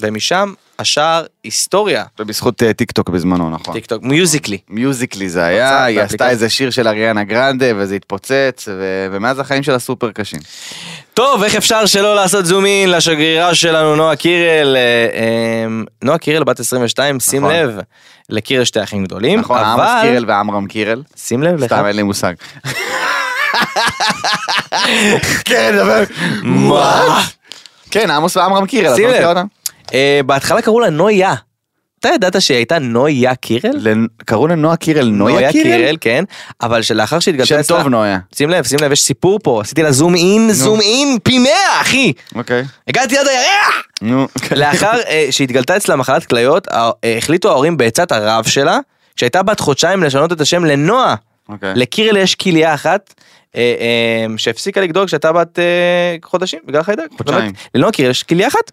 ומשם השאר היסטוריה.
ובזכות אה, טיק טוק בזמנו, נכון.
טיק טוק, מיוזיקלי.
מיוזיקלי זה
הוצאת
היה, היא עשתה
האפליקציה.
איזה שיר של אריאנה גרנדה וזה התפוצץ, ו- ומאז החיים שלה סופר קשים.
טוב, איך אפשר שלא לעשות זום אין לשגרירה שלנו, נועה קירל? אה, אה, נועה קירל בת 22, שים
נכון.
לב, לקירל שתי אחים גדולים,
נכון, עמוס
אבל
קירל ועמרם קירל.
שים לב לך,
סתם אין לי מושג. כן, דבר.
מה?
כן, עמוס ועמרם קירל, את
שים
לא מכירה
לב,
אותם?
אה, בהתחלה קראו לה נויה. אתה ידעת שהיא הייתה נויה קירל?
לנ- קראו לה נועה קירל, נויה קירל?
כן. אבל שלאחר שהתגלתה
שם
אצלה...
טוב נויה.
שים לב, שים לב, יש סיפור פה. עשיתי לה זום אין, זום אין, פי מאה, אחי!
אוקיי.
הגעתי עד הירח!
נו.
לאחר אה, שהתגלתה אצלה מחלת כליות, ה- אה, החליטו ההורים בעצת הרב שלה, כשהייתה בת חודשיים לשנות את השם לנועה.
אוקיי.
לקירל יש כליה אחת. אה, אה, שהפסיקה לגדול כשהייתה בת אה, חודשים בגלל חיידק.
חודשיים.
זאת אומרת, לנועה קירל יש כליה אחת.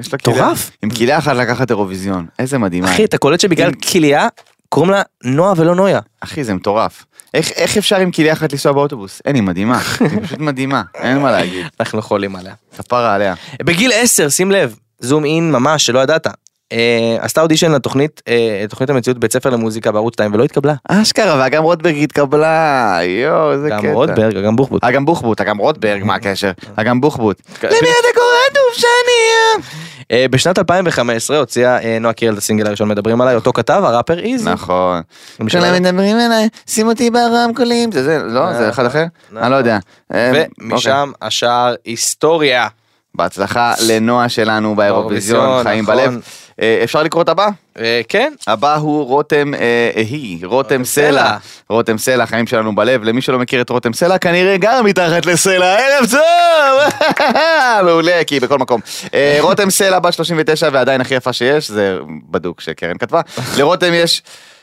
יש לה
מטורף.
כליה. עם כליה אחת לקחת אירוויזיון. איזה מדהימה.
אחי, אתה קולט שבגלל
אם-
כליה קוראים לה נועה ולא נויה.
אחי, זה מטורף. איך איך אפשר עם כליה אחת לנסוע באוטובוס? אין, היא מדהימה. היא פשוט מדהימה. אין מה להגיד.
אנחנו חולים עליה.
כפרה עליה.
בגיל 10, שים לב, זום אין ממש, שלא ידעת. אה, עשתה אודישן לתוכנית, אה, תוכנית המציאות בית ספר למוזיקה בערוץ 2 ולא התקבלה.
אשכרה, וגם רוטברג התקבלה. יואו, איזה קטע.
גם רוטברג, גם בוחבוט.
אגם אה, בוחבוט, אגם רוטברג,
אה,
מה הקשר? אגם בוחבוט.
כן.
למי אתה קורא טוב שאני
אה, בשנת 2015 הוציאה אה, נועה קירל את הסינגל הראשון מדברים עליי, אותו כתב הראפר איזי.
נכון.
עם
כולם
שלנו.
מדברים עליי, שים אותי ברמקולים. זה זה, לא? זה אחד אחר? אני לא יודע. אה, אוקיי.
אה, נכון. ומשם השער היסטוריה.
בהצלחה לנועה שלנו באירוויזיון,
באירוויזיון,
חיים
נכון.
בלב. אה, אפשר לקרוא את הבא?
אה, כן,
הבא הוא רותם אה, היא, רותם
רותם
סלע.
סלע.
רותם סלע, חיים שלנו בלב. למי שלא מכיר את רותם סלע, כנראה גר מתחת לסלע. ערב טוב! מעולה, כי היא בכל מקום. אה, רותם סלע, בת 39 ועדיין הכי יפה שיש, זה בדוק שקרן כתבה. לרותם יש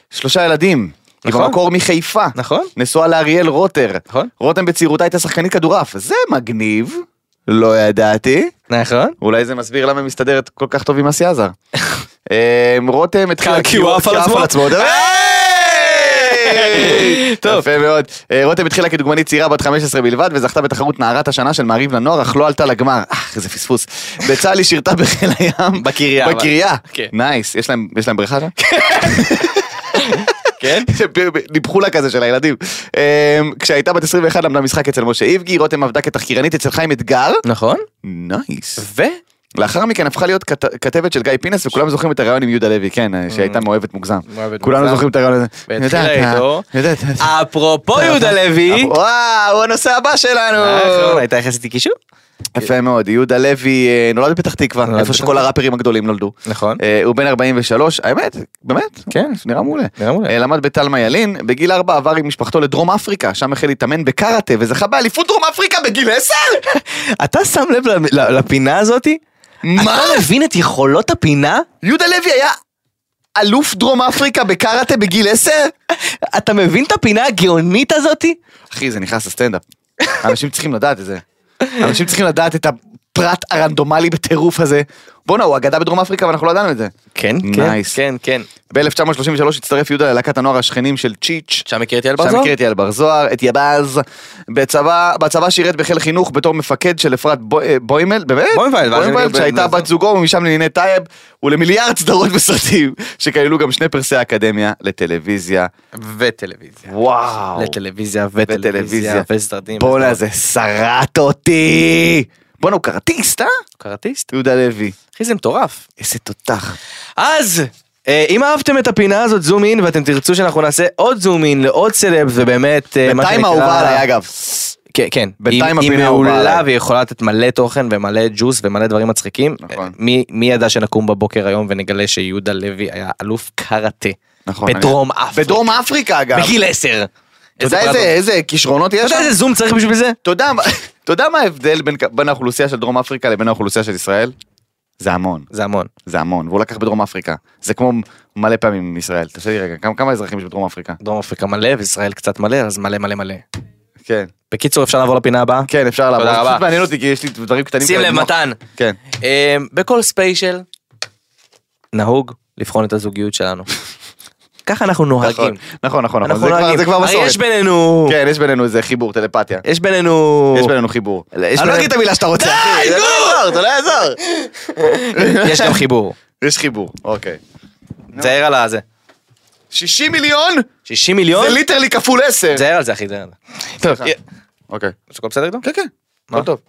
שלושה ילדים. היא
נכון.
במקור מחיפה.
נכון.
נשואה לאריאל רוטר.
נכון.
רותם בצעירותה הייתה שחקנית כדורעף. זה מגניב. לא ידעתי.
נכון.
אולי זה מסביר למה היא מסתדרת כל כך טוב עם אסי עזר. אמ, רותם התחילה
כי הוא עף על
כי
עצמו. אה!
אתה יודע? היי!
טוב.
יפה מאוד. אה, רותם התחילה כדוגמנית צעירה בת 15 בלבד וזכתה בתחרות נערת השנה של מעריב לנוער אך לא עלתה לגמר. אה, איזה פספוס. בצה"ל היא שירתה בחיל הים.
בקריה, אבל.
בקריה.
כן.
נייס. יש להם יש להם בריכה שם?
כן.
ניפחו לה כזה של הילדים. אמ, כשהייתה בת 21 למדה משחק אצל משה איבגי, רותם עבדה כתחקירנית אצל חיים אתגר.
נכון.
נייס.
ו?
לאחר מכן הפכה להיות כת... כתבת של גיא פינס וכולם זוכרים את הרעיון עם יהודה לוי, כן, שהייתה מאוהבת מוגזם.
מאוהבת
כולנו
Mm-hmm. מוגזם.
זוכרים את הרעיון הזה.
והתחילה
יודעת, אה,
איתו.
יודעת, אה,
אפרופו
יודעת.
יהודה לוי.
וואו, הוא הנושא הבא שלנו.
נכון, הייתה יחסית קישור.
יפה מאוד, יהודה לוי אה, נולד בפתח תקווה,
נולד
איפה
בפתח
שכל הראפרים הגדולים נולדו.
נכון.
אה, הוא בן 43, האמת, באמת,
כן.
נראה מעולה.
נראה מעולה.
אה, למד בתלמה ילין, בגיל 4 עבר עם משפחתו לדרום אפריקה, שם החל להתאמן בקראטה וזכה באליפות דרום אפריקה בגיל 10?
אתה שם לב ל- ל- לפינה הזאתי?
מה?
אתה מבין את יכולות הפינה?
יהודה לוי היה אלוף דרום אפריקה בקראטה בגיל 10?
אתה מבין את הפינה הגאונית הזאתי?
אחי, זה נכנס לסטנדאפ. אנשים צריכים לדעת את זה. אנשים צריכים לדעת את הפרט הרנדומלי בטירוף הזה. בואנה, הוא אגדה בדרום אפריקה ואנחנו לא ידענו את זה.
כן,
Nice.
כן, כן.
ב-1933 הצטרף יהודה ללהקת הנוער השכנים של צ'יץ'.
שם הכיר את יעל
שם
בר-זוהר?
הכיר את יעל בר זוהר, את יבז. בצבא, בצבא שירת בחיל חינוך בתור מפקד של אפרת בו- אה, בוימל, באמת?
בוימל, ואז
בוימל,
אני-
שהייתה בת זוגו ומשם לענייני טייב, ולמיליארד סדרות וסרטים, שכללו גם שני פרסי האקדמיה לטלוויזיה.
וטלוויזיה.
וואו.
לטלוויזיה
וטלוויזיה.
וטלוויזיה וסרטים.
בואנה זה שרט אותי! בואנה הוא קרטיסט, אה?
קראטיסט?
יהודה לוי.
אחי זה מטורף.
איזה תותח.
אז, אה, אם אהבתם את הפינה הזאת זום אין ואתם תרצו שאנחנו נעשה עוד זום אין לעוד סלב ובאמת אה, מה שנקרא...
בינתיים האהובה עליי אגב.
כן, כן.
בינתיים
היא-
הפינה
היא
האהובה
מעולה
עליי.
והיא יכולה לתת מלא תוכן ומלא ג'וס ומלא דברים מצחיקים.
נכון.
מי, מי ידע שנקום בבוקר היום ונגלה שיהודה לוי היה אלוף קראטה.
נכון,
בדרום אפריקה.
בדרום אפריקה אגב.
בגיל 10.
אתה יודע איזה- איזה כישרונות
אתה
יש
יודע
שם?
איזה זום צריך בשביל זה?
אתה יודע מה- אתה יודע מה ההבדל בין- בין האוכלוסייה של דרום אפריקה לבין האוכלוסייה של ישראל? זה המון,
זה המון.
זה המון, והוא לקח בדרום אפריקה. זה כמו מלא פעמים עם ישראל. תעשה לי רגע, כמה- כמה אזרחים יש בדרום אפריקה?
דרום אפריקה מלא וישראל קצת מלא אז מלא מלא מלא.
כן.
בקיצור אפשר לעבור לפינה הבאה?
כן, אפשר לעבור.
תודה
זה
רבה.
פשוט מעניין אותי כי יש לי דברים קטנים.
שים
כאלה
לב
למוח.
מתן.
כן.
אה, בכל ספיישל נהוג לבחון את הזוגיות שלנו. ככה אנחנו נוהגים.
נכון, נכון, נכון, נכון.
אנחנו
זה כבר-
נוהגים.
זה כבר
הרי
מסורת.
יש בינינו. אה,
כן, יש בינינו איזה חיבור, טלפתיה.
יש בינינו.
יש בינינו חיבור.
יש
אני לא
בינינו-
אגיד את המילה שאתה רוצה,
די,
אחי. זה לא
נו!
יעזור, זה לא יעזור.
יש גם חיבור.
יש חיבור, אוקיי.
תזהר על הזה.
60 מיליון?
60 מיליון?
זה ליטרלי כפול 10.
תזהר על זה אחי, תזהר על זה.
טוב.
אה,
אוקיי.
אז הכל בסדר איתו?
כן, כן.
מה?
הכל טוב.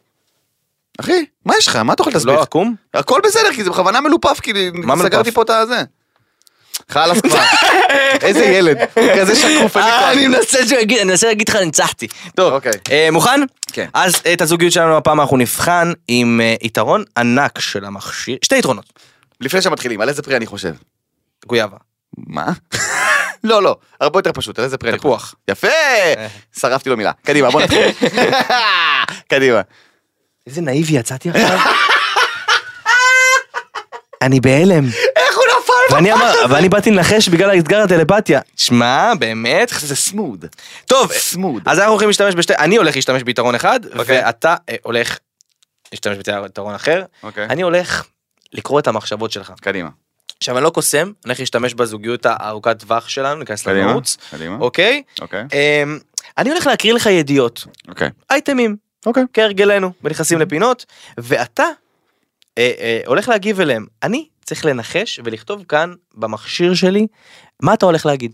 אחי, מה יש לך? מה אתה יכול להסביר?
לא עקום?
הכל בסדר, כי זה בכוונה מלופף, כי
מה
סגרתי
מלופף?
פה את הזה. חלאס כבר. איזה ילד. כזה שקוף. אין לי כוח.
אה, אני מנסה שהוא יגיד, אני מנסה להגיד לך ניצחתי. טוב,
אוקיי.
אה, מוכן?
כן.
אז אה, את הזוגיות שלנו הפעם אנחנו נבחן עם אה, יתרון ענק של המכשיר, שתי יתרונות.
לפני שמתחילים, על איזה פרי אני חושב?
גויאבה.
מה? לא, לא, הרבה יותר פשוט, על איזה פרי אני חושב?
תפוח.
יפה! שרפתי לו מילה. קדימה, בוא נתחיל. קדימה.
איזה נאיבי יצאתי עכשיו. אני בהלם.
איך הוא נפל?
ואני אמר, ואני באתי לנחש בגלל האתגר הטלפתיה. שמע, באמת?
איך זה סמוד.
טוב,
סמוד.
אז אנחנו הולכים להשתמש בשתי, אני הולך להשתמש ביתרון אחד,
אוקיי.
ואתה אה, הולך להשתמש ביתרון אחר.
אוקיי.
אני הולך לקרוא את המחשבות שלך.
קדימה.
עכשיו, אני לא קוסם, אני הולך להשתמש בזוגיות הארוכת טווח שלנו, ניכנס
קדימה.
למרוץ,
קדימה.
אוקיי?
אוקיי.
אמ, אני הולך להקריא לך ידיעות,
אוקיי.
אייטמים,
אוקיי.
כהרגלנו, ונכנסים לפינות, ואתה אה, אה, הולך להגיב אליהם. אני צריך לנחש ולכתוב כאן במכשיר שלי מה אתה הולך להגיד.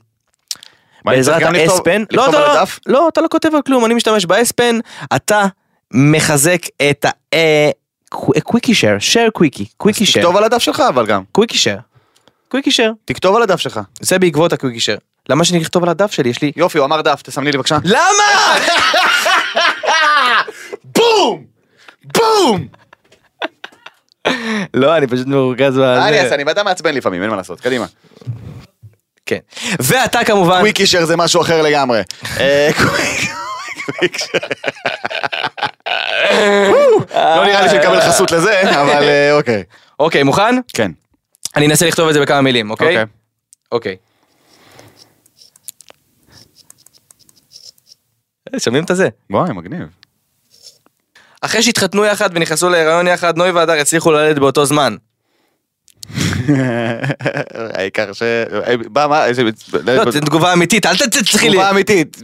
מה, אני צריך
בעזרת
גם לכתוב-
האספן. לא,
לכתוב
אתה
על
לא,
הדף?
לא, אתה לא כותב על כלום, אני משתמש באספן, אתה מחזק את ה... אה, קו- אה, קוויקי שייר, שייר קוויקי, קוויקי שייר,
תכתוב על הדף שלך אבל גם.
קוויקי שייר, קוויקי שייר,
תכתוב על הדף שלך.
זה בעקבות הקוויקי שייר. למה שאני אכתוב על הדף שלי, יש לי...
יופי, הוא אמר דף, תסמני לי בבקשה.
למה?
בום! בום!
לא, אני פשוט מרוגז
מה אה, אני
בזה.
אעשה? אני בן אדם מעצבן לפעמים, אין מה לעשות. קדימה.
כן. ואתה כמובן...
קוויקישר זה משהו אחר לגמרי. אה, קוויק- קוויקישר. לא נראה לי שנקבל חסות לזה, אבל אה, אוקיי.
אוקיי, מוכן?
כן.
אני אנסה לכתוב את זה בכמה מילים, אוקיי?
אוקיי.
אוקיי. אה, שומעים את זה?
וואי, מגניב.
אחרי שהתחתנו יחד ונכנסו להיריון יחד, נוי והדר הצליחו ללדת באותו זמן.
העיקר ש... אה, בא, מה? איזה...
לא, זו תגובה אמיתית, אל ת- תצליחי לי.
אה, תגובה אמיתית.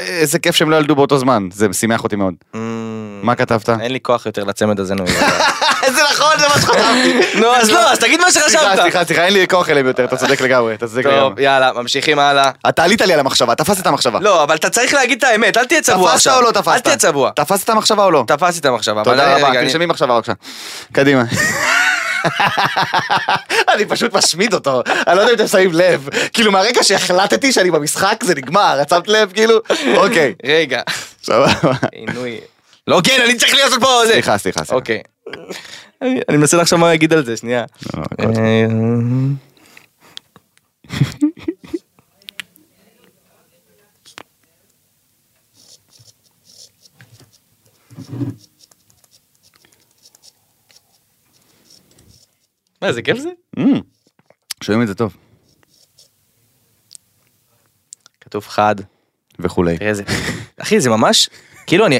איזה כיף שהם לא ילדו באותו זמן, זה שימח אותי מאוד.
אמ,
מה כתבת?
אין לי כוח יותר לצמד הזה, נוי. והדר.
זה נכון, זה מה שחשבתי.
נו, אז לא, אז תגיד מה
סליחה,
שחשבת.
סליחה, סליחה, אין לי כוח אליהם יותר, אתה צודק לגמרי, אתה צודק
טוב,
לגמרי.
יאללה, ממשיכים הלאה.
אתה עלית לי על המחשבה, תפסת את המחשבה.
לא, אבל אתה צריך להגיד את האמת, אל תהיה צבוע
תפסת
עכשיו.
או לא תפסת?
אל תהיה צבוע.
תפסת את המחשבה או לא?
תפסתי את המחשבה. אבל
תודה
אני-
רבה, כן,
רגע, אני-
תרשמי מחשבה בבקשה. קדימה. אני פשוט משמיד אותו, אני לא יודע אם אתם שמים לב. כאילו מהרגע שהחלטתי שאני במשחק זה נגמר, את שמת לב כאילו? אוקיי,
רגע.
סבבה.
עינוי. לא, כן, אני צריך לעשות פה זה.
סליחה, סליחה, סליחה.
אוקיי. אני אני מנסה לחשוב מה להגיד על זה, שנייה.
לא, הכל
אה,
טוב.
מה, זה כיף זה?
אמ, שומעים את זה טוב.
כתוב חד.
וכולי.
תראה זה. אחי, זה ממש, כאילו אני,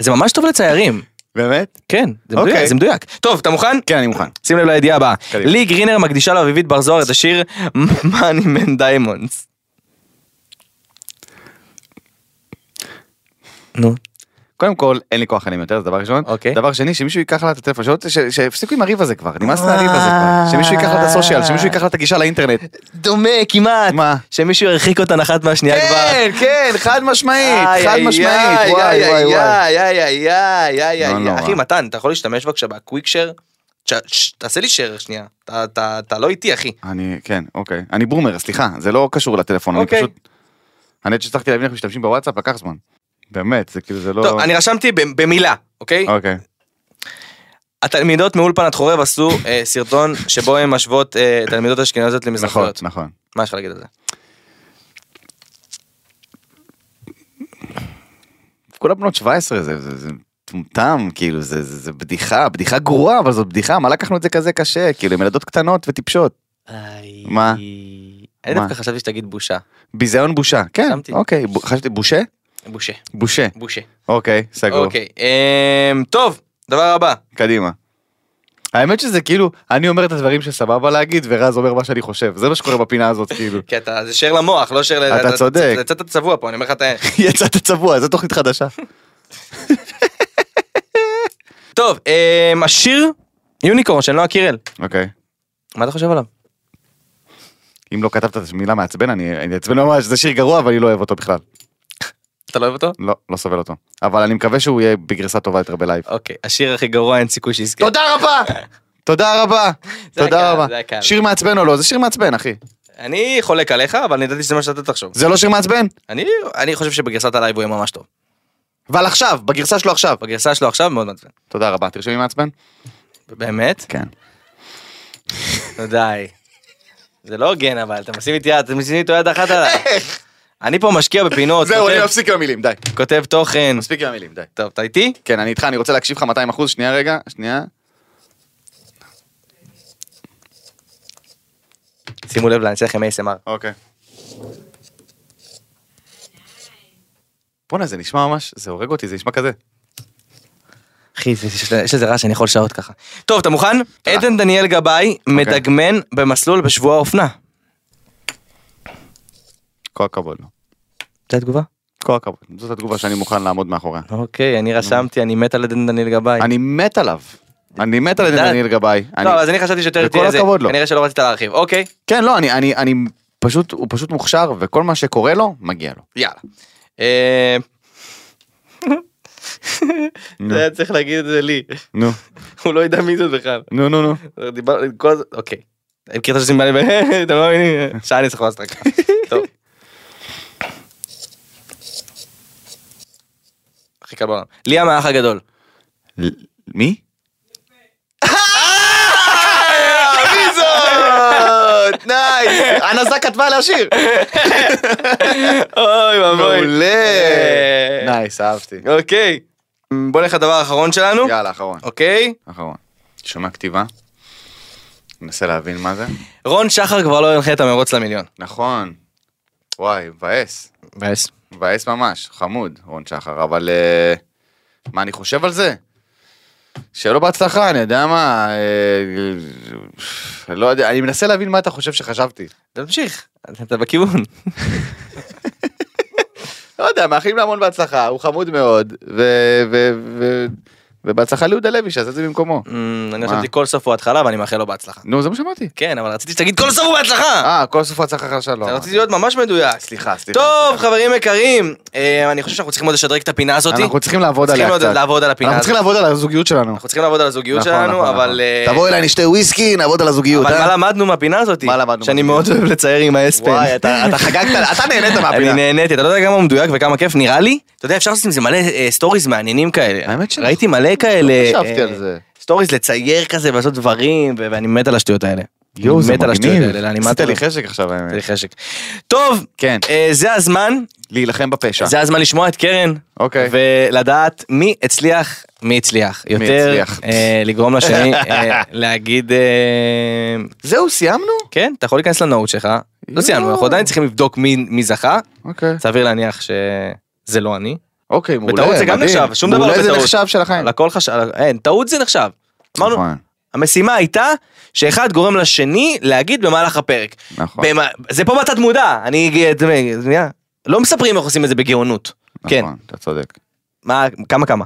זה ממש טוב לציירים.
באמת?
כן, זה מדויק,
אוקיי.
זה מדויק. טוב, אתה מוכן?
כן, אני מוכן.
שים לב לידיעה הבאה.
קדימה.
לי גרינר מקדישה לאביבית בר זוהר את השיר Money Man Diamonds. נו.
קודם כל, אין לי כוח עליהם יותר, זה דבר ראשון.
אוקיי.
דבר שני, שמישהו ייקח לה את הטלפון, שלא ת- ש- שיפסיקו עם הריב הזה כבר, נמאס מהריב הזה כבר. שמישהו ייקח לה את הסושיאל, שמישהו ייקח לה אה. את הגישה לאינטרנט.
דומה כמעט.
מה?
שמישהו ירחיק אותן אחת מהשנייה אה,
כן,
כבר.
כן, חד משמעית,
איי,
חד
איי,
משמעית,
איי,
וואי
איי,
וואי וואי.
איי, איי, איי, איי, איי,
לא
איי.
נורא.
אחי מתן, אתה יכול להשתמש בבקשה בקוויק שייר? תעשה לי שייר שנייה. אתה- אתה אתה לא איתי אחי.
אני, כן, אוקיי. אני בומר, סליחה, זה לא קשור לטלפון, אני
אוקיי.
פשוט... האמת שצריך להבין איך משתמשים בוואטסאפ, לקח זמן. באמת, זה כאילו, זה לא...
טוב, אני רשמתי ב- במילה, אוקיי?
אוקיי.
התלמידות מאולפנת חורב עשו אה, סרטון שבו הן משוות אה, תלמידות אשכנזיות
נכון,
למזרחיות.
נכון.
מה יש לך להגיד על זה?
כולם בנות 17, זה- זה זה מטומטם, כאילו, זה- זה זה בדיחה, בדיחה גרועה, אבל זאת בדיחה, מה לקחנו את זה כזה קשה? כאילו, הם ילדות קטנות וטיפשות. מה? מה?
אני דווקא חשבתי שתגיד בושה.
ביזיון בושה, כן,
שמתי.
אוקיי, ב- חשבתי בושה?
בושה.
בושה,
בושה.
אוקיי, סגור,
אוקיי, אמ, טוב, דבר הבא.
קדימה. האמת שזה כאילו, אני אומר את הדברים שסבבה להגיד, ורז אומר מה שאני חושב, זה מה שקורה בפינה הזאת, כאילו.
כי אתה, זה שייר למוח, לא שייר ל...
אתה צודק.
יצאת צבוע פה, אני אומר לך את ה...
יצאת צבוע, זו תוכנית חדשה.
טוב, אמ, השיר יוניקורן של נועה קירל.
אוקיי.
מה אתה חושב עליו?
אם לא כתבת את המילה מעצבן, אני אני אעצבן ממש, זה שיר גרוע, אבל אני לא אוהב אותו בכלל.
אתה לא אוהב אותו?
לא, לא סובל אותו. אבל אני מקווה שהוא יהיה בגרסה טובה יותר בלייב.
אוקיי, השיר הכי גרוע, אין סיכוי שיזכה.
תודה רבה! תודה רבה!
זה
תודה
הקהל,
רבה.
זה הקהל.
שיר מעצבן או לא? זה שיר מעצבן, אחי.
אני חולק עליך, אבל אני ידעתי שזה מה שאתה תחשוב.
זה לא שיר מעצבן?
אני אני חושב שבגרסת הלייב הוא יהיה ממש טוב.
אבל עכשיו, בגרסה שלו עכשיו.
בגרסה שלו עכשיו מאוד מעצבן.
כן. תודה רבה, תרשמי מעצבן?
באמת?
כן.
נו די. זה לא הוגן אבל, אתה משים איתי יד, אתה משים איתו יד אחת עליי. אני פה משקיע בפינות,
זהו,
כותב-
אני מפסיק עם המילים, די.
כותב תוכן.
מספיק עם המילים, די.
טוב, אתה איתי?
כן, אני איתך, אני רוצה להקשיב לך 200 אחוז, שנייה רגע, שנייה.
שימו לב, אני אעשה לכם ASMR.
אוקיי. בואנה, זה נשמע ממש, זה הורג אותי, זה נשמע כזה.
אחי, זה- יש- יש איזה רעש שאני יכול שעות ככה. טוב, אתה מוכן? עדן דניאל גבאי
אוקיי.
מדגמן במסלול בשבוע האופנה.
כל הכבוד לו.
זו התגובה?
כל הכבוד. זאת התגובה שאני מוכן לעמוד מאחוריה.
אוקיי, אני רשמתי, אני מת על עדן דניאל גבאי.
אני מת עליו. אני מת על
דת.
דניאל גבאי. אני-
לא, אז אני חשבתי שיותר
וכל
תהיה זה.
הכבוד לו.
כנראה שלא רצית להרחיב. אוקיי.
כן, לא, אני- אני אני פשוט, הוא פשוט מוכשר, וכל מה שקורה לו, מגיע לו.
יאללה. אה, זה היה צריך להגיד את זה לי.
נו,
הוא לא ידע מי זה בכלל.
נו, נו, נו.
דיברנו, כל הזמן, אוקיי. אני מכיר את השם בעלי, אתם לא מבינים? שעה אני צריך לעשות רק. טוב. הכי קל בעולם. ליאם האח הגדול.
ל- מי? נייס! הנזה כתבה על השיר!
אוי
מעולה!
אה.
נייס, אהבתי.
אוקיי. בוא נלך לדבר האחרון שלנו.
יאללה, אחרון.
אוקיי.
אחרון. שומע כתיבה? מנסה להבין מה זה.
רון שחר כבר לא ינחה את המרוץ למיליון.
נכון. וואי, מבאס.
מבאס.
מבאס ממש. חמוד, רון שחר, אבל... אה, מה אני חושב על זה? שיהיה לו בהצלחה, אני יודע מה... אה, לא יודע, אני מנסה להבין מה אתה חושב שחשבתי.
תמשיך. אתה בכיוון.
לא יודע, מאחלים לו המון בהצלחה, הוא חמוד מאוד, ו- ו- ו- ובהצלחה ליהודה לוי, שיעשה את זה במקומו.
אמ, אני חשבתי כל סוף הוא התחלה ואני מאחל לו בהצלחה.
נו, זה מה שאמרתי.
כן, אבל רציתי שתגיד כל סוף הוא בהצלחה!
אה, כל סוף ההצלחה חדשה לא.
אתה
אמרתי.
רציתי להיות ממש מדויק.
סליחה, סליחה.
טוב, חברים יקרים, אה, אני חושב שאנחנו צריכים עוד לשדרג את הפינה הזאת.
אנחנו צריכים לעבוד עליה
צריכים
קצת.
עוד לעבוד על הפינה
אנחנו צריכים
הזאת.
לעבוד על הזוגיות שלנו.
אנחנו צריכים לעבוד על הזוגיות
נכון,
שלנו,
נכון,
אבל...
נכון.
אה,
תבוא אליי, נשתה וויסקי, נעבוד על הזוגיות.
אבל
אה?
מה למדנו מהפינה הזאת?
מה למדנו
שאני
מהפינה?
מאוד אוהב לצייר עם האספן.
וואי, אתה אתה חגגת, אתה נהנית
אני
מהפינה.
נהניתי, אתה לא יודע כמה הוא מדויק וכמה כיף, נראה לי, אתה יודע, אפשר לעשות עם זה מלא אה, סטוריז מעניינים כאלה.
האמת שלא.
ראיתי מלא כאלה.
לא חשבתי
אה,
על זה.
סטוריז לצייר כזה ולעשות דברים, ו- ואני מת על השטויות האלה.
יואו, זה
אני מת על השטויות
מגניב.
האלה, אני מת
עשית
על
לי חשק עכשיו, האמת.
זה לי חשק. טוב,
כן.
אה, זה הזמן,
להילחם בפשע.
זה הזמן לשמוע את קרן,
אוקיי.
ולדעת מי הצליח, מי הצליח. יותר
הצליח.
אה, לגרום לשני אה, להגיד, אה,
זהו, סיימנו? כן.
כן, אתה יכול להיכנס לנוט שלך, לא סיימנו, אנחנו עדיין צריכים לבדוק מי מי זכה,
אוקיי.
סביר להניח שזה לא אני.
אוקיי, מעולה, מדהים.
בטעות זה גם נחשב, שום דבר לא
מעולה זה
בטעות.
נחשב של החיים.
על הכל חשב, אין, טעות זה נחשב. אמרנו,
כן. נכון,
המשימה הייתה שאחד גורם לשני להגיד במהלך הפרק.
נכון.
במה- זה פה בתת מודע, אני... אה, אתה מבין, שנייה. לא מספרים איך עושים את זה בגאונות. כן.
נכון, אתה צודק.
מה, כמה כמה?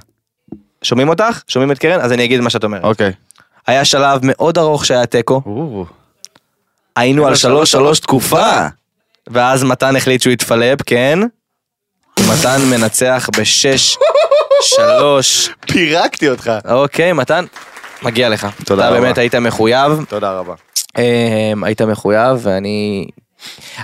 שומעים אותך? שומעים את קרן? אז אני אגיד מה שאת אומרת.
אוקיי.
היה שלב מאוד ארוך שהיה תיקו, היינו על שלוש שלוש תקופה, ואז מתן החליט שהוא יתפלפ, כן? מתן מנצח בשש שלוש.
פירקתי אותך.
אוקיי, מתן, מגיע לך.
תודה רבה.
אתה באמת היית מחויב.
תודה רבה.
אה, היית מחויב ואני...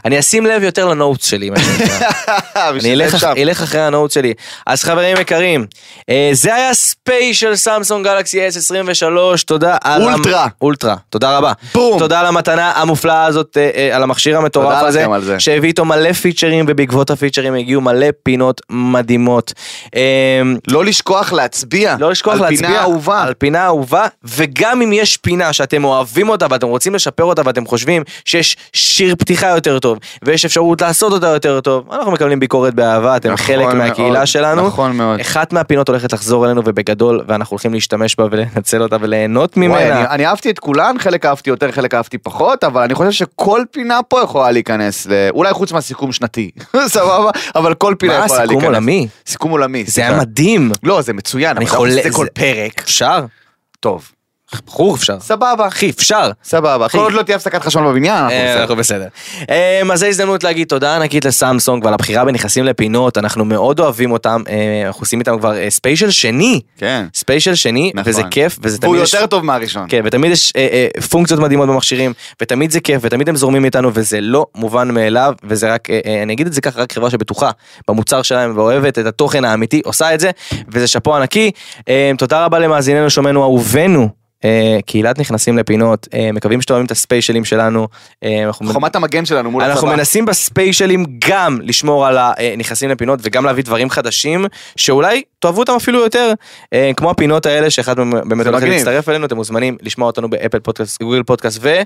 אני אשים לב יותר לנוטס שלי, מה שנקרא.
אה,
אני אלך, אח- אלך אחרי הנוט שלי. אז חברים יקרים, אה, זה היה ספיישל סמסונג גלקסי S23, תודה על... המ-
אולטרה.
אולטרה, תודה רבה.
בום.
תודה על המתנה המופלאה הזאת, אה, אה, על המכשיר המטורף
תודה
הזה,
לכם על זה.
שהביא איתו מלא פיצ'רים, ובעקבות הפיצ'רים הגיעו מלא פינות מדהימות. אה,
לא לשכוח להצביע.
לא לשכוח
על
להצביע
פינה אהובה.
על פינה אהובה, וגם אם יש פינה שאתם אוהבים אותה ואתם רוצים לשפר אותה ואתם חושבים שיש שיר פתיחה יותר טוב ויש אפשרות לעשות אותה יותר טוב, אנחנו מקבלים ביקורת באהבה, אתם
נכון
חלק
מאוד,
מהקהילה שלנו.
נכון מאוד.
אחת מהפינות הולכת לחזור אלינו ובגדול, ואנחנו הולכים להשתמש בה ולנצל אותה וליהנות
וואי,
ממנה.
אני, אני אהבתי את כולן, חלק אהבתי יותר, חלק אהבתי פחות, אבל אני חושב שכל פינה פה יכולה להיכנס, ל... אולי חוץ מהסיכום שנתי, סבבה? אבל כל פינה
מה,
יכולה להיכנס.
סיכום עולמי?
סיכום עולמי.
זה
סליחה.
היה מדהים.
לא, זה מצוין,
אני
אבל חולה...
חולה-
זה כל
זה-
פרק.
אפשר?
טוב.
ברור אפשר.
סבבה,
אחי, אפשר.
סבבה. כל
אחי.
עוד לא תהיה הפסקת חשמל בבניין, אנחנו
אה,
בסדר.
אנחנו בסדר. אמ, אז זו הזדמנות להגיד תודה ענקית לסמסונג ועל הבחירה בנכסים לפינות, אנחנו מאוד אוהבים אותם, אה, אנחנו עושים איתם כבר אה, ספיישל שני,
כן.
ספיישל שני,
נכון.
וזה כיף, וזה
והוא
תמיד יש...
יותר טוב מהראשון.
כן, ותמיד יש אה, אה, פונקציות מדהימות במכשירים, ותמיד זה כיף, ותמיד הם זורמים איתנו, וזה לא מובן מאליו, וזה רק, אה, אה, אני אגיד את זה ככה, רק חברה שבטוחה במוצר שלהם ואוהבת את התוכן האמיתי, עושה את זה, וזה שאפו ענקי. אה, תודה רבה למאזיננו, שומענו, אהובינו. אה, קהילת נכנסים לפינות, אה, מקווים שאתם אוהבים את הספיישלים שלנו. אה, אנחנו מנ-
חומת המגן שלנו מול
אנחנו
הצבא.
מנסים בספיישלים גם לשמור על הנכנסים לפינות וגם להביא דברים חדשים שאולי תאהבו אותם אפילו יותר אה, כמו הפינות האלה שאחד מהם באמת
זה
הולך
מגניב.
להצטרף אלינו אתם מוזמנים לשמוע אותנו באפל פודקאסט גוגל פודקאסט ו...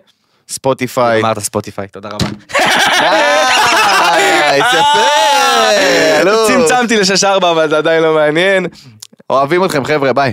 ספוטיפיי.
אמרת ספוטיפיי תודה רבה.
אה, יפה, אלוף.
אה! צמצמתי לשש ארבע אבל זה עדיין לא מעניין.
אוהבים אתכם חבר'ה, ביי.